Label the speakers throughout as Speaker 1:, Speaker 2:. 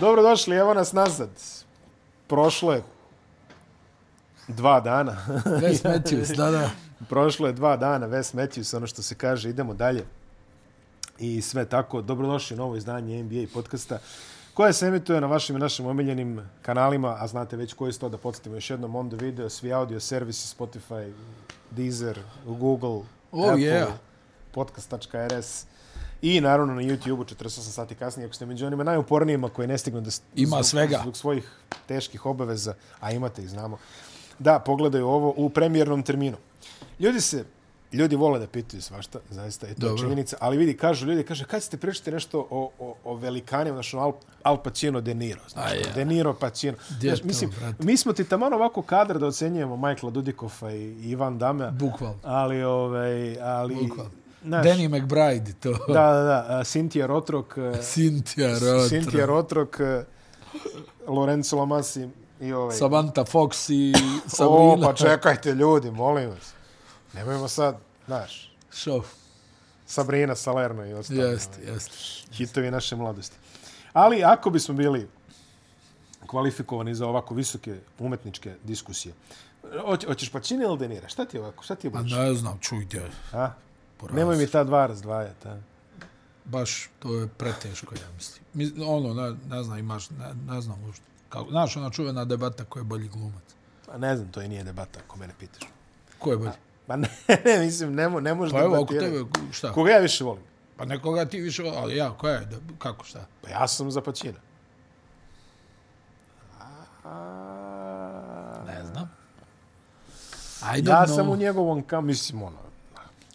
Speaker 1: Dobro došli, evo nas nazad. Prošlo je dva dana.
Speaker 2: Wes Matthews, da, da.
Speaker 1: Prošlo je dva dana, Wes Matthews, ono što se kaže, idemo dalje. I sve tako. Dobrodošli u novo izdanje NBA podcasta koje se emituje na vašim i našim omiljenim kanalima, a znate već koji su to da podsjetimo još jednom Mondo Video, svi audio servisi, Spotify, Deezer, Google, oh, Apple,
Speaker 2: yeah.
Speaker 1: podcast.rs i naravno na YouTube-u 48 sati kasnije, ako ste među onima najupornijima koji ne stignu da s-
Speaker 2: Ima
Speaker 1: zbog,
Speaker 2: svega.
Speaker 1: zbog svojih teških obaveza, a imate ih znamo, da pogledaju ovo u premijernom terminu. Ljudi se Ljudi vole da pitaju svašta, zaista, je to je
Speaker 2: Dobro.
Speaker 1: činjenica. Ali vidi, kažu ljudi, kaže, kad ste pričati nešto o, o, o velikanima, znaš, ono, Al, Al Pacino, De Niro, znaš,
Speaker 2: A
Speaker 1: ja.
Speaker 2: ja.
Speaker 1: De Niro, Pacino.
Speaker 2: Gdje
Speaker 1: Znaš,
Speaker 2: to,
Speaker 1: mislim,
Speaker 2: brate?
Speaker 1: mi smo ti tamo ovako kadar da ocenjujemo Michaela Dudikofa i i Ivan Dame,
Speaker 2: Bukvalno.
Speaker 1: ali, ovaj, ali...
Speaker 2: Bukvalno.
Speaker 1: znaš,
Speaker 2: Danny McBride, to. Da.
Speaker 1: Da, da, da. a, Cynthia Rotrok, e,
Speaker 2: Cynthia Roth.
Speaker 1: Cynthia Rotrok, e, Lorenzo Lamassi i ovaj...
Speaker 2: Samantha Fox i
Speaker 1: o,
Speaker 2: Sabrina.
Speaker 1: pa čekajte ljudi, molim vas. Nemojmo sad, znaš,
Speaker 2: Show.
Speaker 1: Sabrina Salerno i ostalo.
Speaker 2: Jeste, jeste.
Speaker 1: Hitovi naše mladosti. Ali ako bismo bili kvalifikovani za ovako visoke umetničke diskusije, hoć- hoćeš pa čini ili denira? Šta ti je ovako? Šta ti je
Speaker 2: Pa
Speaker 1: baš?
Speaker 2: ne znam, čujte.
Speaker 1: A?
Speaker 2: Poraz.
Speaker 1: Nemoj mi ta dva razdvajati. a?
Speaker 2: Baš, to je preteško, ja mislim. Mi- Ono, ne, ne znam, imaš, ne, ne znam uopšte. Kako, znaš, ona čuvena debata ko je bolji glumac.
Speaker 1: Pa ne znam, to i nije debata, ako mene pitaš.
Speaker 2: Ko je bolji?
Speaker 1: Ma ne, ne mislim, ne, mo- ne možeš
Speaker 2: Pa evo, oko
Speaker 1: debatirati.
Speaker 2: tebe, šta?
Speaker 1: Koga ja više volim?
Speaker 2: Pa nekoga ti više, voli, ali ja, koja je, da, kako, šta?
Speaker 1: Pa ja sam za Pacina. A-
Speaker 2: Ne znam. I don't
Speaker 1: Ja
Speaker 2: know.
Speaker 1: sam u njegovom kam, mislim, ono,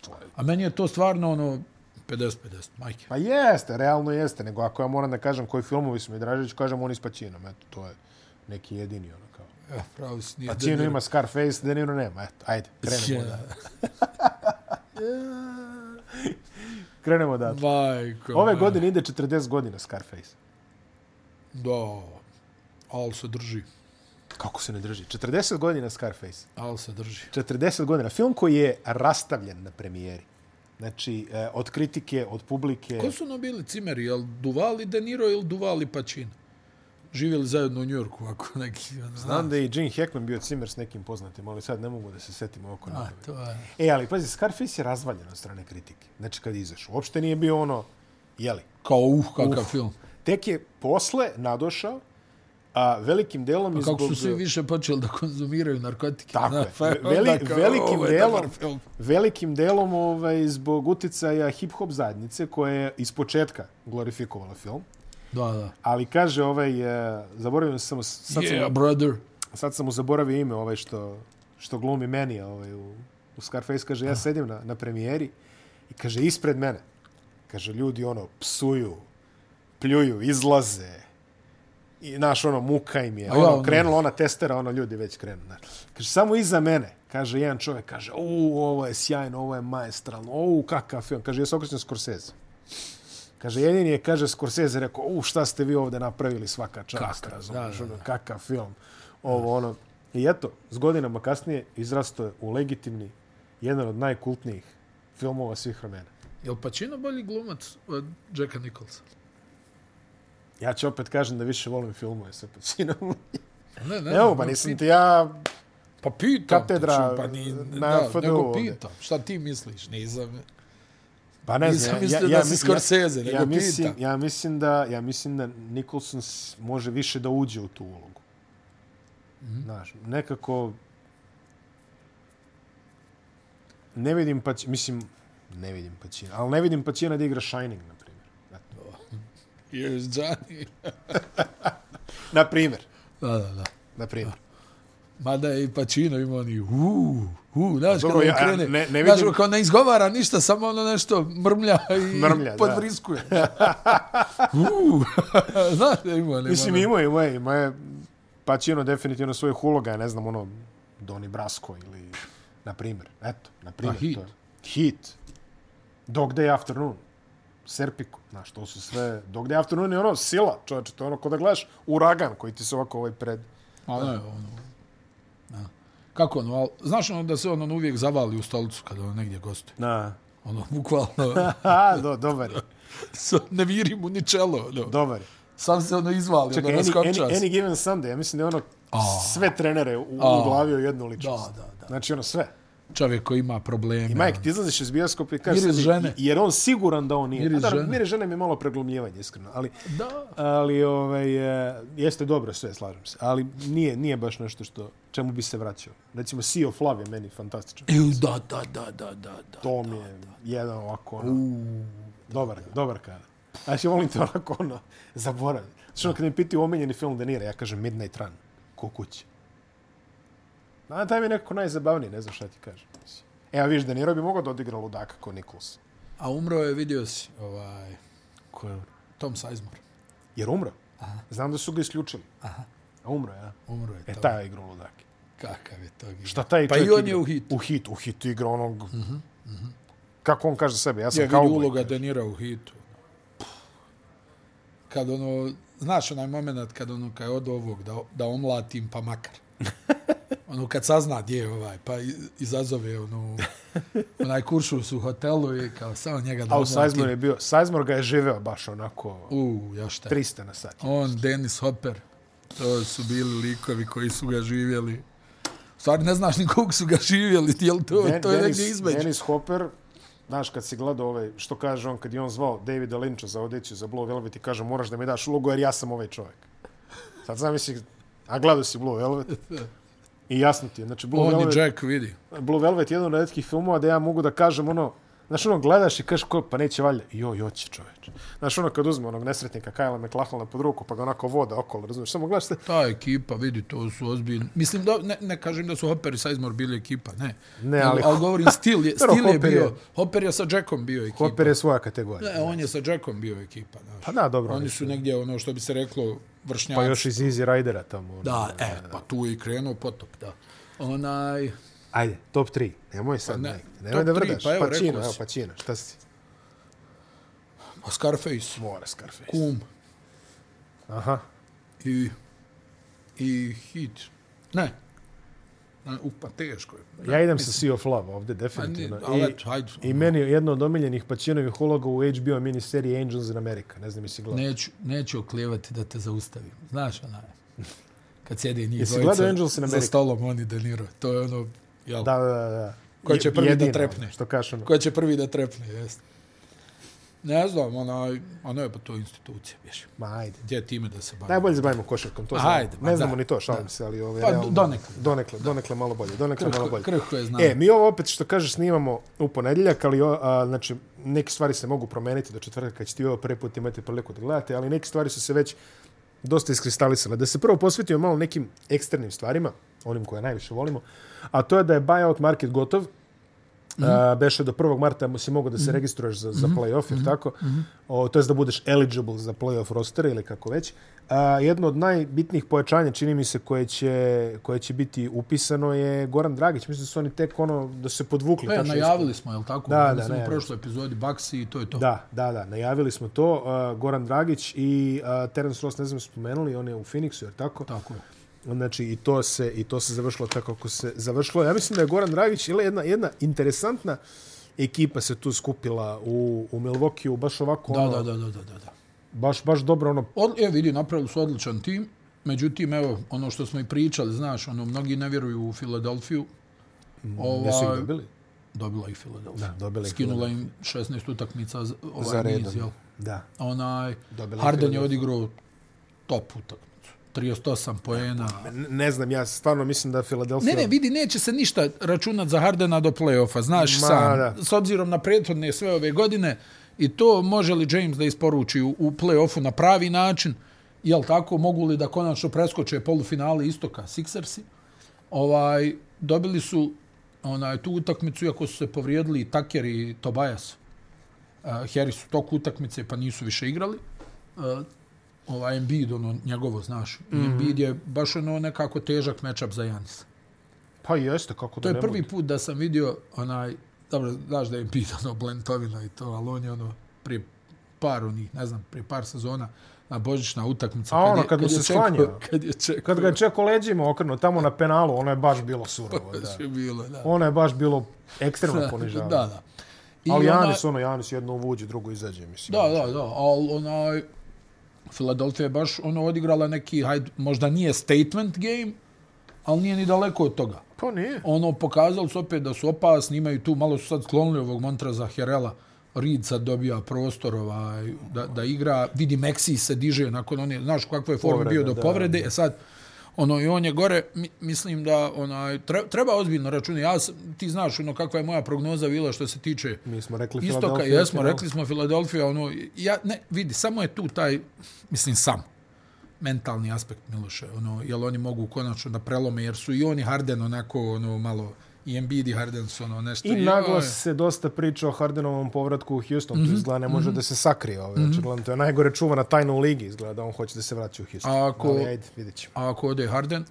Speaker 1: to je-
Speaker 2: A meni je to stvarno, ono, 50-50, majke.
Speaker 1: Pa jeste, realno jeste, nego ako ja moram da kažem koji filmovi su mi Dražić, kažem oni s Pacinom, eto, to je neki jedini, ono, kao.
Speaker 2: Ja, pravo Eh, si nije.
Speaker 1: Pacino ima Scarface, De Niro nema, eto, ajde, krenemo da.
Speaker 2: da.
Speaker 1: Krenemo da.
Speaker 2: Majko.
Speaker 1: Ove
Speaker 2: moja.
Speaker 1: godine ide 40 godina Scarface.
Speaker 2: Da. Al se drži.
Speaker 1: Kako se ne drži? 40 godina Scarface.
Speaker 2: Al se drži.
Speaker 1: 40 godina. Film koji je rastavljen na premijeri. Znači, eh, od kritike, od publike.
Speaker 2: Ko su ono bili cimeri? Jel Duvali De Niro ili Duvali Pacino? Živjeli zajedno u Njorku, ako neki... ono,
Speaker 1: Znam da je i Gene Hackman bio cimer s nekim poznatim, ali sad ne mogu da se setim oko
Speaker 2: A,
Speaker 1: na
Speaker 2: to je...
Speaker 1: E, ali pazi, Scarface je razvaljen od strane kritike. Znači, kad je izašao. Uopšte nije bio ono, jeli.
Speaker 2: Kao uh, kakav film.
Speaker 1: Tek je posle nadošao, a velikim delom pa
Speaker 2: Kako su svi više počeli da konzumiraju narkotike.
Speaker 1: Tako
Speaker 2: znaš,
Speaker 1: je.
Speaker 2: pa onda
Speaker 1: Veli-
Speaker 2: kao,
Speaker 1: velikim
Speaker 2: ovo je dobar
Speaker 1: delom-
Speaker 2: film.
Speaker 1: velikim delom ovaj, zbog uticaja hip-hop zajednice koja je iz početka glorifikovala film.
Speaker 2: Da, da.
Speaker 1: Ali kaže ovaj, e, zaboravio sam, samo- sad,
Speaker 2: Yeah,
Speaker 1: sam,
Speaker 2: brother.
Speaker 1: sad sam mu zaboravio ime ovaj što, što glumi meni ovaj, u, u Scarface. Kaže, ja sedim na, na premijeri i kaže, ispred mene. Kaže, ljudi ono, psuju, pljuju, izlaze. I, naš, ono, muka im je.
Speaker 2: A ja,
Speaker 1: Ono,
Speaker 2: ono-
Speaker 1: krenula ona testera, ono, ljudi već krenu. Znaš. Kaže, samo iza mene. Kaže, jedan čovjek kaže, u, ovo je sjajno, ovo je maestralno, u, kakav film. Kaže, ja se okrećem Scorsese. Kaže, jedini je, kaže, Scorsese rekao, u, šta ste vi ovde napravili svaka čast,
Speaker 2: Kakav,
Speaker 1: razumiješ,
Speaker 2: da, da,
Speaker 1: ono, kakav film, ovo, ono. I eto, s godinama kasnije izrasto je u legitimni, jedan od najkultnijih filmova svih vremena.
Speaker 2: Jel Pacino bolji glumac od Jacka Nicholsa?
Speaker 1: Ja ću opet kažem da više volim filmove sa Pacinom.
Speaker 2: Ne, ne,
Speaker 1: Evo,
Speaker 2: ne,
Speaker 1: pa
Speaker 2: ne,
Speaker 1: nisam
Speaker 2: pit-
Speaker 1: ti ja...
Speaker 2: Pa pitam
Speaker 1: katedra
Speaker 2: te, čuj, pa ni,
Speaker 1: na
Speaker 2: da,
Speaker 1: FDU
Speaker 2: Nego
Speaker 1: ovdje.
Speaker 2: pitam, šta ti misliš? Nisam,
Speaker 1: Pa ne
Speaker 2: Nisam
Speaker 1: znam, ja,
Speaker 2: mislio
Speaker 1: ja,
Speaker 2: da si
Speaker 1: ja-
Speaker 2: Scorsese,
Speaker 1: ja,
Speaker 2: nego
Speaker 1: ja, mislim,
Speaker 2: pitam.
Speaker 1: ja, mislim da, ja mislim da Nicholson s- može više da uđe u tu ulogu.
Speaker 2: Mhm.
Speaker 1: Znaš, nekako... Ne vidim pa... Mislim, ne vidim Pacina. Ali ne vidim pa Pacina da igra Shining, na primjer. Eto.
Speaker 2: here's Johnny.
Speaker 1: Na primjer.
Speaker 2: Da, da, da.
Speaker 1: Na primjer.
Speaker 2: Mada je i Pacino ima oni uu, uu, znaš
Speaker 1: Pa dobro,
Speaker 2: kada
Speaker 1: ja-
Speaker 2: ja, krene,
Speaker 1: ne- ne
Speaker 2: znaš
Speaker 1: vidim-
Speaker 2: kao ne izgovara ništa, samo ono nešto mrmlja i
Speaker 1: Mrmlja, da.
Speaker 2: podvriskuje. uu, znaš da ima nema.
Speaker 1: Mislim, imao je, imao je, imao je Pacino definitivno svojih uloga, ne znam, ono, Doni Brasco ili, na primjer, eto, na primjer.
Speaker 2: A hit?
Speaker 1: To je. Hit. Dog Day Afternoon. Serpico, znaš, to su sve... Dog Day Afternoon je ono, sila, čovječe, to je ono ko da gledaš uragan koji ti se ovako ovaj pred...
Speaker 2: A ne, ono, na. Kako ono, al, znaš ono da se ono uvijek zavali u stolicu kada on negdje gostuje.
Speaker 1: Na.
Speaker 2: Ono, bukvalno,
Speaker 1: Ha, do, dobar je,
Speaker 2: sa- ne viri mu ni čelo. Ono.
Speaker 1: dobar je.
Speaker 2: Sam se ono izvalio
Speaker 1: Čekaj,
Speaker 2: da
Speaker 1: any,
Speaker 2: naskočas.
Speaker 1: any, any given Sunday, ja mislim da je ono sve trenere u,
Speaker 2: A.
Speaker 1: uglavio u jednu ličnost.
Speaker 2: Da, da, da.
Speaker 1: Znači ono sve.
Speaker 2: Čovjek koji ima probleme.
Speaker 1: I Mike, ti izlaziš iz bioskopa i kažeš...
Speaker 2: Miris
Speaker 1: sad,
Speaker 2: žene.
Speaker 1: Jer on siguran da on nije.
Speaker 2: Miris
Speaker 1: Miris žene.
Speaker 2: žene.
Speaker 1: Miris žene mi je malo preglumljivanje, iskreno. Ali,
Speaker 2: Da.
Speaker 1: ali ovaj, e, jeste dobro sve, slažem se. Ali nije, nije baš nešto što, čemu bi se vraćao. Recimo, Sea of Love je meni fantastičan.
Speaker 2: Il, da, da, da, da, da, da.
Speaker 1: To mi je jedan ovako, ono, dobar, dobar kada. Znači, volim te onako, ono, zaboravim. Znači, ono, kad mi pitaju omenjeni film De Nira, ja kažem Midnight Run, ko kuće. A taj mi je nekako najzabavniji, ne znam šta ti kažem. mislim. Evo, viš, De Niro bi mogao da odigra ludaka ko Nichols.
Speaker 2: A umro je, vidio si, ovaj,
Speaker 1: Ko je on?
Speaker 2: Tom Sizemore.
Speaker 1: Jer umro. Aha. Znam da su ga isključili. Aha. A umro, ja.
Speaker 2: Umro je
Speaker 1: E,
Speaker 2: to.
Speaker 1: taj je igrao ludake.
Speaker 2: Kakav je to igrač.
Speaker 1: Šta taj
Speaker 2: Pa
Speaker 1: čovjek
Speaker 2: i on
Speaker 1: igra?
Speaker 2: je u hitu. Mhm,
Speaker 1: U hit, u hit igra onog... Uh -huh, uh -huh. Kako on kaže za sebe, ja sam
Speaker 2: Ja
Speaker 1: ja,
Speaker 2: vidi
Speaker 1: kao...
Speaker 2: uloga De Nira u hitu. Kad ono, znaš onaj moment kad ono, kad je od ovog, da, da omlatim pa makar. Ono, kad sazna gdje je ovaj, pa i- izazove ono, onaj kuršus u hotelu i kao samo njega da
Speaker 1: A u
Speaker 2: omlatim.
Speaker 1: Sizemore je bio... Sizemore ga je živeo baš onako...
Speaker 2: U, ja šta.
Speaker 1: 300 na sat.
Speaker 2: On, Dennis Hopper, to su bili likovi koji su ga živjeli. U Stvari, ne znaš ni koliko su ga živjeli, jel to,
Speaker 1: Den-
Speaker 2: to je
Speaker 1: Dennis-
Speaker 2: negdje između.
Speaker 1: Dennis Hopper, znaš, kad si gledao ovaj, što kaže on, kad je on zvao Davida Lynča za odeću za Blue Velvet i kaže, moraš da mi daš ulogu jer ja sam ovaj čovjek. Sad znam, misli, a gledao si Blue Velvet i jasno ti je. Znači, Blue
Speaker 2: On
Speaker 1: Velvet,
Speaker 2: i Jack vidi.
Speaker 1: Blue Velvet je jedan od redkih filmova da ja mogu da kažem ono, znaš ono, gledaš i kažeš ko, pa neće valja, joj, joće čoveč. Znaš ono, kad uzme onog nesretnika Kajla McLachlana pod ruku, pa ga onako voda okolo, razumiješ, samo gledaš se,
Speaker 2: Ta ekipa, vidi, to su ozbiljni. Mislim, da, ne, ne kažem da su Hopper i Sizemore bili ekipa, ne.
Speaker 1: Ne,
Speaker 2: Nego-
Speaker 1: ali-
Speaker 2: ali govorim, stil je,
Speaker 1: Dobro,
Speaker 2: stil je
Speaker 1: Hopper je-
Speaker 2: bio. Hopper je sa Jackom bio ekipa.
Speaker 1: Hopper je svoja kategorija.
Speaker 2: Ne, on je sa Jackom bio ekipa. Znaš.
Speaker 1: Pa da, dobro,
Speaker 2: Oni su negdje, ono što bi se reklo, vršnjaci.
Speaker 1: pa još iz Easy Ridera tamo. ono.
Speaker 2: Da, e, pa tu je i krenuo potop, da. Onaj,
Speaker 1: Ajde, top 3. Nemoj sad
Speaker 2: Pa ne,
Speaker 1: ne, Nemoj
Speaker 2: top
Speaker 1: da
Speaker 2: tri,
Speaker 1: vrdaš.
Speaker 2: pa evo,
Speaker 1: Pacino,
Speaker 2: rekao
Speaker 1: evo,
Speaker 2: si.
Speaker 1: Pacino. Šta si?
Speaker 2: a Scarface,
Speaker 1: Mora Scarface.
Speaker 2: kum
Speaker 1: Aha.
Speaker 2: i, i hit. Ne. Ne, Upa, teško je.
Speaker 1: Ja idem sa Sea of Love ovde,
Speaker 2: Pa ni-
Speaker 1: definitivno.
Speaker 2: ali
Speaker 1: I,
Speaker 2: eto, hajde.
Speaker 1: I meni je jedno od omiljenih Pacinovih uloga u HBO miniseriji Angels in America. Ne znam, jesi gledao.
Speaker 2: Neću, neću oklijevati da te zaustavim. Znaš onaj, kad sjede njih
Speaker 1: Jesi
Speaker 2: dvojica
Speaker 1: gledao Angels in
Speaker 2: za
Speaker 1: America?
Speaker 2: stolom, oni De Niro. To je ono, jel, da.
Speaker 1: Da, da, da.
Speaker 2: Ko će
Speaker 1: Je-
Speaker 2: prvi da
Speaker 1: jedino,
Speaker 2: trepne?
Speaker 1: Što kažeš ono.
Speaker 2: ko će prvi da trepne, jest. Ne znam, onaj, ono je pa to institucija, biš.
Speaker 1: Ma, ajde.
Speaker 2: Gdje je time da se bavi?
Speaker 1: Najbolje se bavimo košarkom, to
Speaker 2: Ma,
Speaker 1: znamo.
Speaker 2: ajde, ma,
Speaker 1: ne znamo
Speaker 2: da,
Speaker 1: ni to, šalim se, ali ove...
Speaker 2: Pa,
Speaker 1: realno-
Speaker 2: donekle.
Speaker 1: Donekle, donekle malo bolje, donekle malo
Speaker 2: Krhko,
Speaker 1: bolje.
Speaker 2: krhko je znam.
Speaker 1: E, mi ovo opet što kažeš snimamo u ponedjeljak, ali o- a, znači, neke stvari se mogu promeniti do četvrtka kad ćete vi ovo prvi put imati priliku da gledate, ali neke stvari su se već dosta iskristalisale. Da se prvo posvetimo malo nekim eksternim stvarima, onim koje najviše volimo, a to je da je buyout market gotov, Mm -hmm. beše do 1. marta mu si mogao da se mm -hmm. registruješ za, za playoff, jer tako? Mm -hmm. o, to je da budeš eligible za playoff roster ili kako već. A, jedno od najbitnijih pojačanja, čini mi se, koje će, koje će biti upisano je Goran Dragić. Mislim da su oni tek ono, da su se podvukli.
Speaker 2: Pa,
Speaker 1: tačno
Speaker 2: najavili smo, jel tako?
Speaker 1: Da, da,
Speaker 2: Mislim, u
Speaker 1: najavili
Speaker 2: prošloj epizodi Baxi i to je to.
Speaker 1: Da, da, da, najavili smo to. Uh, Goran Dragić i uh, Terence Ross, ne znam, spomenuli, on je u Phoenixu, jer tako?
Speaker 2: Tako je.
Speaker 1: Znači, i to se, i to se završilo tako kako se završilo. Ja mislim da je Goran Dragić ili jedna, jedna interesantna ekipa se tu skupila u, u Milwaukee, baš ovako,
Speaker 2: Da,
Speaker 1: ono,
Speaker 2: da, da, da, da, da. da.
Speaker 1: Baš, baš dobro, ono,
Speaker 2: Od, e, vidi, napravili su odličan tim. Međutim, evo, ono što smo i pričali, znaš, ono, mnogi ne vjeruju u Filadelfiju.
Speaker 1: gdje su ih
Speaker 2: Ovaj,
Speaker 1: dobili?
Speaker 2: dobila i Filadelfija.
Speaker 1: Da, dobila ih
Speaker 2: Skinula im 16 utakmica z- ovaj
Speaker 1: Za
Speaker 2: niz,
Speaker 1: redom.
Speaker 2: jel?
Speaker 1: Da.
Speaker 2: A Onaj,
Speaker 1: Dobila je
Speaker 2: Harden je
Speaker 1: Philadelphia.
Speaker 2: odigrao top utakmicu. 38 poena.
Speaker 1: Ne, ne znam, ja stvarno mislim da Philadelphia...
Speaker 2: Ne, ne, vidi, neće se ništa računat za Hardena do play-offa, znaš
Speaker 1: Ma,
Speaker 2: sam.
Speaker 1: da.
Speaker 2: S obzirom na prethodne sve ove godine i to može li James da isporuči u, u play-offu na pravi način, jel tako, mogu li da konačno preskoče polufinale istoka Sixersi, ovaj, dobili su onaj, tu utakmicu, iako su se povrijedili i Tucker i Tobias. Uh, Harris u toku utakmice pa nisu više igrali. Uh, ovaj Embiid, ono njegovo, znaš. Mm
Speaker 1: Mhm.
Speaker 2: -hmm. Embiid je baš ono nekako težak matchup za Janisa.
Speaker 1: Pa jeste, kako da
Speaker 2: To je
Speaker 1: ne
Speaker 2: prvi
Speaker 1: bude.
Speaker 2: put da sam vidio onaj, dobro, znaš da je Embiid ono blentovina i to, ali on je ono prije par onih, ne znam, prije par sezona na božićna utakmica.
Speaker 1: A ono,
Speaker 2: je-
Speaker 1: kad mu
Speaker 2: je
Speaker 1: se
Speaker 2: čekao-
Speaker 1: sklanjao.
Speaker 2: Kad je čekao.
Speaker 1: Kad ga je čeko leđima okrenuo tamo na penalu, ono je baš bilo surovo, da.
Speaker 2: baš je bilo, da.
Speaker 1: Ono je baš bilo ekstremno
Speaker 2: Da,
Speaker 1: ponižavanje.
Speaker 2: da. I
Speaker 1: Ali
Speaker 2: onaj-
Speaker 1: Janis, ono, Janis jedno uvuđe, drugo izađe, mislim.
Speaker 2: Da, da, da, ali onaj, Philadelphia je baš ono odigrala neki, hajde, možda nije statement game, ali nije ni daleko od toga.
Speaker 1: Pa nije.
Speaker 2: Ono, pokazali su opet da su opasni, imaju tu, malo su sad sklonili ovog Montraza Herela, Reed sad dobija prostor ovaj, da, da igra, vidi Meksi se diže nakon one, znaš kakvo je form
Speaker 1: Povrede,
Speaker 2: bio do
Speaker 1: da.
Speaker 2: povrede, e sad, ono i on je gore, mi, mislim da onaj, tre- treba ozbiljno računati, ja sam, ti znaš ono kakva je moja prognoza bila što se tiče
Speaker 1: Mi smo rekli
Speaker 2: Istoka,
Speaker 1: Philadelphia
Speaker 2: jesmo,
Speaker 1: final.
Speaker 2: rekli smo Filadelfija, ono, ja, ne, vidi, samo je tu taj, mislim, sam, mentalni aspekt Miloše, ono, jel oni mogu konačno da prelome, jer su i oni Harden onako, ono, malo, i Embiid i Harden su ono nešto...
Speaker 1: I
Speaker 2: joj.
Speaker 1: naglas se dosta priča o Hardenovom povratku u Houston.
Speaker 2: Mhm.
Speaker 1: Mm -hmm. To izgleda ne može mm -hmm. da se sakrije. Ovaj. Mm -hmm. To je najgore čuvana tajna u ligi. Izgleda da on hoće da se vraća u Houston.
Speaker 2: A ako-
Speaker 1: Ali ajde, vidjet ćemo.
Speaker 2: A ako ode Harden,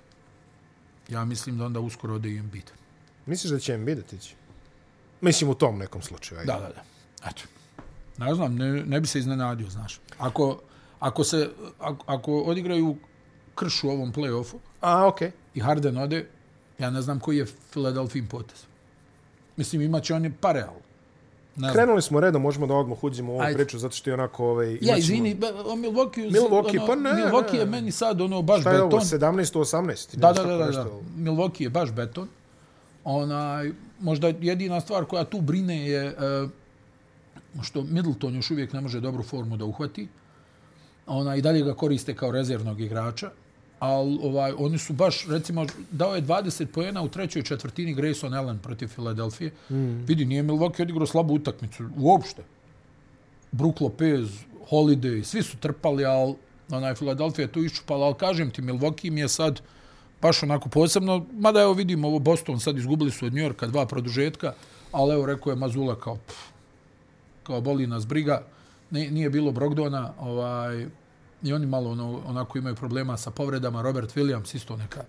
Speaker 2: ja mislim da onda uskoro ode i Embiid.
Speaker 1: Misliš da će Embiid otići? Mislim u tom nekom slučaju. Ajde.
Speaker 2: Da, da, da. Eto. Ne znam, ne, ne bi se iznenadio, znaš. Ako, ako, se, ako, ako odigraju krš u ovom play-offu,
Speaker 1: A, okej. Okay.
Speaker 2: i Harden ode, ja ne znam koji je Philadelphia potez. Mislim, imaće oni pare, ali ne znam.
Speaker 1: Krenuli smo redom, možemo da odmah uđemo u ovu
Speaker 2: Ajde.
Speaker 1: priču, zato što je onako... Ovaj,
Speaker 2: Ja,
Speaker 1: imaćemo-
Speaker 2: izvini, ba- o Milwaukee,
Speaker 1: Milwaukee,
Speaker 2: ono,
Speaker 1: pa ne,
Speaker 2: Milwaukee je
Speaker 1: ne.
Speaker 2: meni sad ono baš
Speaker 1: Šta je ovo,
Speaker 2: beton.
Speaker 1: 17 u 18?
Speaker 2: Da,
Speaker 1: Ili
Speaker 2: da,
Speaker 1: tako
Speaker 2: da, da,
Speaker 1: nešto?
Speaker 2: da. Milwaukee je baš beton. Onaj, možda jedina stvar koja tu brine je e, što Middleton još uvijek ne može dobru formu da uhvati. Ona i dalje ga koriste kao rezervnog igrača, ali ovaj, oni su baš, recimo, dao je 20 pojena u trećoj četvrtini Grayson Allen protiv Filadelfije. Mm. Vidi, nije Milwaukee odigrao slabu utakmicu, uopšte. Brook Lopez, Holiday, svi su trpali, ali onaj Philadelphia je tu iščupala, ali kažem ti, Milwaukee mi je sad baš onako posebno, mada evo vidimo ovo Boston, sad izgubili su od New Yorka dva produžetka, ali evo rekao je Mazula kao, pff, kao boli nas briga, Ne- nije bilo Brogdona, ovaj, i oni malo ono, onako imaju problema sa povredama, Robert Williams isto neka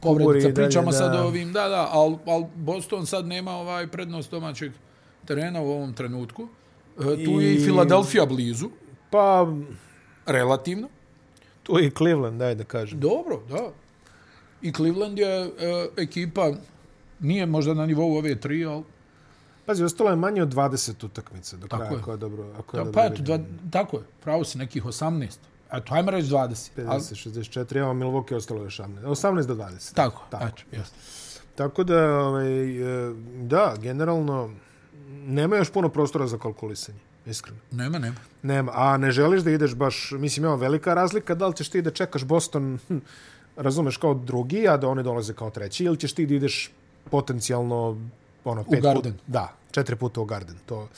Speaker 1: Kuburi i
Speaker 2: povredica,
Speaker 1: dalje,
Speaker 2: pričamo sad
Speaker 1: da.
Speaker 2: o ovim, da, da, ali al Boston sad nema ovaj prednost domaćeg terena u ovom trenutku. E, Tu je
Speaker 1: I-
Speaker 2: i Filadelfija blizu,
Speaker 1: Pa,
Speaker 2: relativno.
Speaker 1: tu je i Cleveland, daj da kažem.
Speaker 2: Dobro, da. I Cleveland je e, ekipa, nije možda na nivou ove tri, ali
Speaker 1: Pazi, ostalo je manje od 20 utakmica do
Speaker 2: Tako
Speaker 1: kraja,
Speaker 2: je.
Speaker 1: ako je dobro. Ako je
Speaker 2: da,
Speaker 1: dobro
Speaker 2: pa eto,
Speaker 1: vidim.
Speaker 2: dva, tako je, pravo si nekih 18. Eto, ajmo reći 20. Ali,
Speaker 1: 50, 64, evo Milwaukee je ostalo još 18, 18 do 20.
Speaker 2: tako,
Speaker 1: tako.
Speaker 2: tako. Eto, jeste.
Speaker 1: Tako da, ovaj, e, da, generalno, nema još puno prostora za kalkulisanje, iskreno.
Speaker 2: Nema, nema.
Speaker 1: Nema, a ne želiš da ideš baš, mislim, evo, velika razlika, da li ćeš ti da čekaš Boston, hm, razumeš, kao drugi, a da oni dolaze kao treći, ili ćeš ti da ideš potencijalno, ono, pet
Speaker 2: Garden.
Speaker 1: Put, da, četiri puta u Garden, to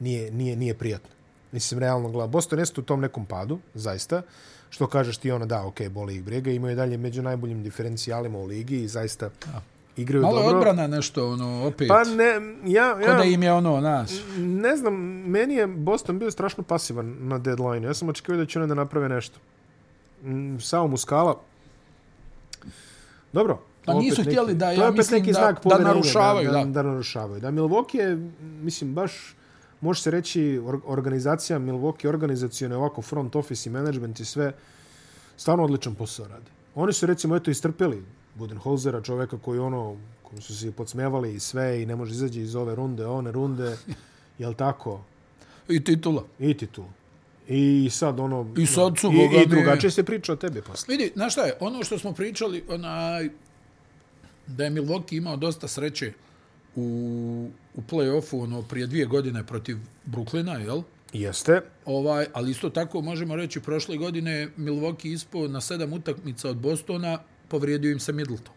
Speaker 1: nije, nije, nije prijatno. Mislim, realno, gleda, Boston jeste u tom nekom padu, zaista, što kažeš ti, ono, da, okej, boli ih brega, imaju i dalje među najboljim diferencijalima u ligi i zaista igraju
Speaker 2: Malo je
Speaker 1: dobro.
Speaker 2: odbrana nešto, ono, opet.
Speaker 1: Pa ne, ja,
Speaker 2: Ko
Speaker 1: ja,
Speaker 2: da im je ono, naš.
Speaker 1: ne znam, meni je Boston bio strašno pasivan na deadline. Ja sam očekivao da će oni da naprave nešto. Mm, Samo muskala. Dobro.
Speaker 2: Pa nisu
Speaker 1: opet
Speaker 2: htjeli
Speaker 1: neki-
Speaker 2: da,
Speaker 1: to je
Speaker 2: ja
Speaker 1: opet
Speaker 2: mislim
Speaker 1: neki
Speaker 2: da-
Speaker 1: znak
Speaker 2: da
Speaker 1: poverenja,
Speaker 2: narušavaju,
Speaker 1: Da,
Speaker 2: da.
Speaker 1: da narušavaju. Da, Milwaukee je, mislim, baš može se reći or, organizacija Milwaukee, organizacione ovako front office i management i sve stvarno odličan posao rade. Oni su recimo eto istrpeli Budenholzera, čoveka koji ono, kom su se podsmevali i sve i ne može izađe iz ove runde, one runde, jel tako?
Speaker 2: I titula.
Speaker 1: I titul. I sad ono...
Speaker 2: I sad su, boga
Speaker 1: I, i
Speaker 2: mi.
Speaker 1: drugačije se priča o tebi posle.
Speaker 2: Vidi, znaš šta je, ono što smo pričali, onaj, da je Milwaukee imao dosta sreće u, u play-offu ono, prije dvije godine protiv Brooklyna, jel?
Speaker 1: Jeste.
Speaker 2: Ovaj, ali isto tako možemo reći, prošle godine je Milwaukee ispao na sedam utakmica od Bostona, povrijedio im se Middleton.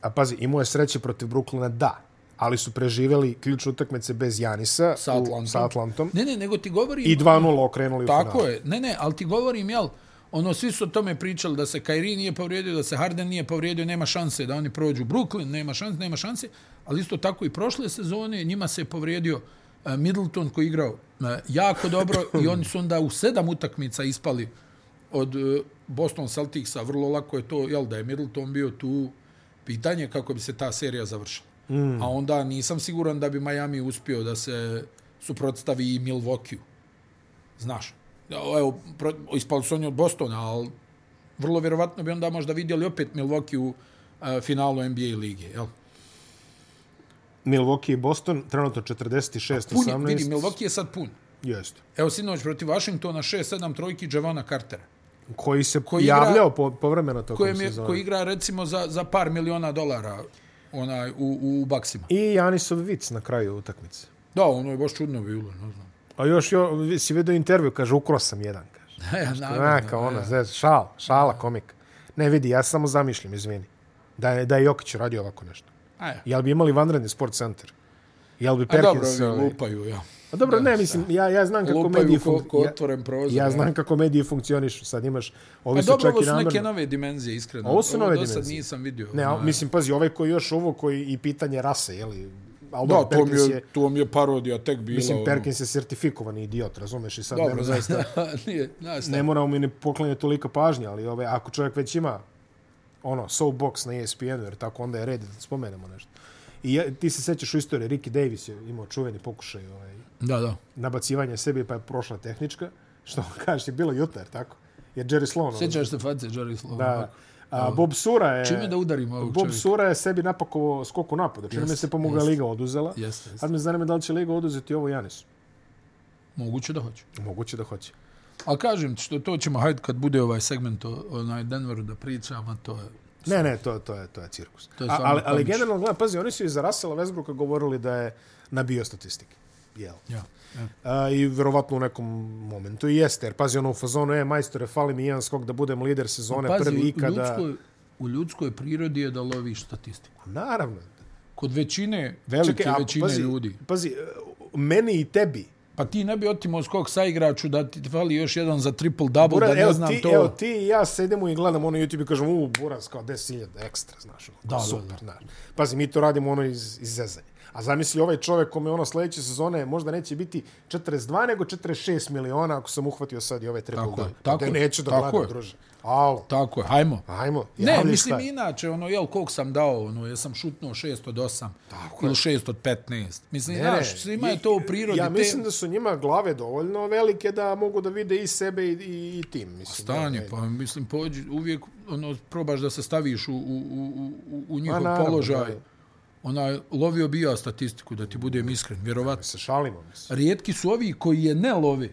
Speaker 1: A pazi, imao je sreće protiv Brooklyna, da. Ali su preživjeli ključne utakmice bez Janisa
Speaker 2: Sa Atlantom.
Speaker 1: U, sa Atlantom
Speaker 2: Ne, ne, nego ti govorim...
Speaker 1: i 2-0 okrenuli u
Speaker 2: Tako
Speaker 1: finalu.
Speaker 2: je. Ne, ne, ali ti govorim, jel, ono, svi su o tome pričali da se Kairi nije povrijedio, da se Harden nije povrijedio, nema šanse da oni prođu Brooklyn, nema šanse, nema šanse, ali isto tako i prošle sezone njima se je povrijedio e, Middleton koji je igrao e, jako dobro i oni su onda u sedam utakmica ispali od e, Boston Celticsa, vrlo lako je to, jel, da je Middleton bio tu pitanje kako bi se ta serija završila. Mm. A onda nisam siguran da bi Miami uspio da se suprotstavi i Milwaukee. Znaš, evo, pro- ispali su oni od Bostona, ali vrlo vjerovatno bi onda možda vidjeli opet Milwaukee u e, finalu NBA lige, jel?
Speaker 1: Milwaukee i Boston, trenutno
Speaker 2: Pun je, vidi,
Speaker 1: 46-18.
Speaker 2: Milwaukee je sad pun.
Speaker 1: Jeste.
Speaker 2: Evo sinoć protiv Washingtona 6-7 trojki Javana Cartera,
Speaker 1: Koji se
Speaker 2: Koji
Speaker 1: koji
Speaker 2: igra-
Speaker 1: javljao po, povremeno tokom
Speaker 2: kojem je,
Speaker 1: sezona.
Speaker 2: koji igra recimo za, za par miliona dolara onaj, u, u baksima.
Speaker 1: I Janisov vic na kraju utakmice.
Speaker 2: Da, ono je baš čudno bilo, ne znam.
Speaker 1: A još, jo, vi- si vidio intervju, kaže, ukro sam jedan, kaže.
Speaker 2: ja, naravno,
Speaker 1: Neka, ono, zez, šala, šala komika. Ne vidi, ja samo zamišljam, izvini. Da je, da je Jokić radio ovako nešto.
Speaker 2: A, ja.
Speaker 1: Jel bi imali vanredni sport centar? Jel bi
Speaker 2: e, A dobro,
Speaker 1: Perkins...
Speaker 2: ovi
Speaker 1: ovaj-
Speaker 2: lupaju, ja.
Speaker 1: A dobro, ne, mislim, ja, ja znam kako mediji...
Speaker 2: Lupaju ko,
Speaker 1: funk-
Speaker 2: ko
Speaker 1: ja-
Speaker 2: otvoren prozor.
Speaker 1: Ja znam kako mediji funkcionišu. Sad imaš... Ovi
Speaker 2: Pa
Speaker 1: su
Speaker 2: dobro,
Speaker 1: čak
Speaker 2: ovo
Speaker 1: i
Speaker 2: su neke
Speaker 1: namerno-
Speaker 2: nove dimenzije, iskreno.
Speaker 1: Ovo su nove
Speaker 2: do sad
Speaker 1: dimenzije.
Speaker 2: nisam vidio.
Speaker 1: Ne, a,
Speaker 2: Ono,
Speaker 1: mislim, pazi, ovaj koji još ovo koji i pitanje rase, jeli... Albert
Speaker 2: Da, to mi,
Speaker 1: Perkins je,
Speaker 2: je, to mi je parodija tek bila.
Speaker 1: Mislim,
Speaker 2: ono.
Speaker 1: Perkins je sertifikovani idiot, razumeš? I sad
Speaker 2: Dobro,
Speaker 1: nema, zaista-
Speaker 2: zaista. Nije, znaš šta.
Speaker 1: ne moramo mi ne poklanjati toliko pažnje, ali ove, ako čovjek već ima ono, soapbox na ESPN-u, jer tako onda je red da spomenemo nešto. I ja, ti se sećaš u istoriji, Ricky Davis je imao čuveni pokušaj ovaj,
Speaker 2: Da, da.
Speaker 1: nabacivanja sebi, pa je prošla tehnička, što on kaže, je bilo jutar, tako? Jer Jerry Sloan... ono,
Speaker 2: Sjećaš se face Jerry Sloan?
Speaker 1: Da, a, Bob Sura je...
Speaker 2: Čime da udarimo ovog
Speaker 1: Bob
Speaker 2: čovjeka?
Speaker 1: Sura je sebi napakovao skoku napada. Čini mi
Speaker 2: Jeste,
Speaker 1: se pa mu ga
Speaker 2: jeste.
Speaker 1: Liga oduzela.
Speaker 2: Jeste, jeste.
Speaker 1: Sad me zanima da li će Liga oduzeti ovo Janisu.
Speaker 2: Moguće da hoće.
Speaker 1: Moguće da hoće.
Speaker 2: Ali kažem ti što to ćemo, hajde kad bude ovaj segment o onaj Denveru da pričamo, to je...
Speaker 1: Ne, ne, to, to, je, to je cirkus.
Speaker 2: To je
Speaker 1: A,
Speaker 2: stvarno
Speaker 1: ali, ali
Speaker 2: komično.
Speaker 1: generalno, gledaj, pazi, oni su i za Rasela Vesbruka govorili da je nabio statistike. Jel?
Speaker 2: Ja. ja.
Speaker 1: A, I verovatno u nekom momentu i jeste, jer pazi ono u fazonu, e, majstore, fali mi jedan skok da budem lider sezone,
Speaker 2: Pazi,
Speaker 1: prvi
Speaker 2: u
Speaker 1: ikada.
Speaker 2: ljudskoj, u ljudskoj prirodi je da loviš statistiku.
Speaker 1: Naravno.
Speaker 2: Kod većine, velike
Speaker 1: Čekaj,
Speaker 2: Čekaj,
Speaker 1: a,
Speaker 2: većine
Speaker 1: pazi,
Speaker 2: ljudi.
Speaker 1: pazi, meni i tebi,
Speaker 2: Pa ti ne bi otimo skok sa igraču da ti fali još jedan za triple-double, da
Speaker 1: Buraz,
Speaker 2: ne
Speaker 1: evo,
Speaker 2: znam
Speaker 1: ti,
Speaker 2: to.
Speaker 1: Evo ti i ja sedemo i gledamo ono YouTube i kažemo, u, Buraz, kao 10.000 ekstra, znaš, ono,
Speaker 2: Da,
Speaker 1: da,
Speaker 2: da,
Speaker 1: super, znaš. Pazi, mi to radimo ono iz, iz zezanja. A zamisli ovaj čovjek kome ono sljedeće sezone možda neće biti 42 nego 46 miliona ako sam uhvatio sad i ove triple
Speaker 2: Tako je,
Speaker 1: double.
Speaker 2: tako
Speaker 1: Da
Speaker 2: je,
Speaker 1: neću da
Speaker 2: tako
Speaker 1: gledam,
Speaker 2: je.
Speaker 1: druže. Au,
Speaker 2: Tako je, hajmo.
Speaker 1: ajmo.
Speaker 2: Ne,
Speaker 1: javljaj
Speaker 2: mislim
Speaker 1: šta.
Speaker 2: inače, ono, jel, koliko sam dao, ono, jesam šutnuo 6 od 8 Tako ili 6 od 15. Mislim, ne,
Speaker 1: Ne,
Speaker 2: znaš,
Speaker 1: ne,
Speaker 2: svima je
Speaker 1: i-
Speaker 2: to u prirodi.
Speaker 1: Ja
Speaker 2: te-
Speaker 1: mislim da su njima glave dovoljno velike da mogu da vide i sebe i, i, i tim. Mislim, ovaj,
Speaker 2: stanje,
Speaker 1: ne,
Speaker 2: pa mislim pođi uvijek ono probaš da se staviš u u u u u njihov
Speaker 1: naravno,
Speaker 2: položaj.
Speaker 1: da.
Speaker 2: Onaj lovio bi ja statistiku da ti budem iskren, vjerovatno.
Speaker 1: Se šalimo, mislim.
Speaker 2: Rijetki su ovi koji je ne love.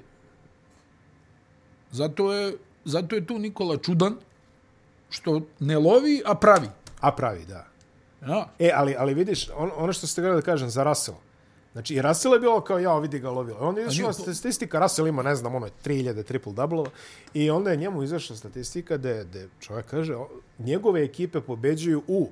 Speaker 2: Zato je zato je tu Nikola čudan što ne lovi, a pravi.
Speaker 1: A pravi, da.
Speaker 2: Ja.
Speaker 1: E, ali, ali vidiš, on, ono što ste gledali da kažem za Russell. Znači, i Russell je bilo kao, ja, vidi ga lovilo. Onda je
Speaker 2: nije
Speaker 1: izašla
Speaker 2: to-
Speaker 1: statistika, Russell ima, ne znam, ono, 3000 triple double i onda je njemu izašla statistika da da čovjek kaže, o, njegove ekipe pobeđuju u,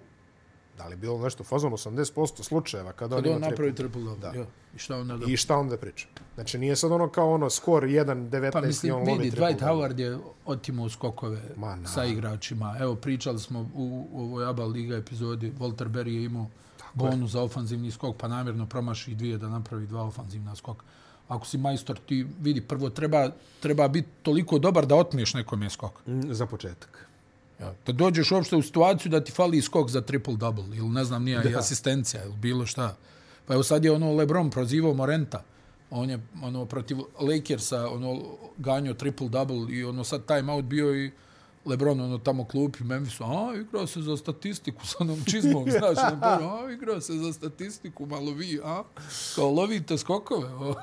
Speaker 1: da li je bilo nešto, fazon 80% slučajeva kada
Speaker 2: Kad
Speaker 1: on
Speaker 2: on
Speaker 1: ima
Speaker 2: napravi
Speaker 1: triple.
Speaker 2: triple double. Ja. I šta onda da
Speaker 1: I šta onda priča? Znači, nije sad ono kao ono, skor 1, 19
Speaker 2: Pa
Speaker 1: i
Speaker 2: mislim,
Speaker 1: on lovi
Speaker 2: vidi,
Speaker 1: triple
Speaker 2: Dwight Howard je otimao skokove
Speaker 1: Ma, na.
Speaker 2: sa igračima. Evo, pričali smo u, u ovoj ABA Liga epizodi, Walter Berry je imao bonus za ofanzivni skok, pa namjerno promaši dvije da napravi dva ofanzivna skoka. Ako si majstor, ti vidi, prvo treba, treba biti toliko dobar da otmiješ nekome skok.
Speaker 1: double. Mm, Za početak.
Speaker 2: Ja. Da dođeš uopšte u situaciju da ti fali skok za triple-double ili ne znam, nije i asistencija ili bilo šta. Pa evo sad je ono Lebron prozivao Morenta. On je ono protiv Lakersa ono ganjao triple-double i ono sad timeout bio i Lebron ono tamo klupi Memphisu, a igrao se za statistiku sa onom čizmom, znaš, ono, prvo, a igrao se za statistiku, malo vi, a kao lovite skokove.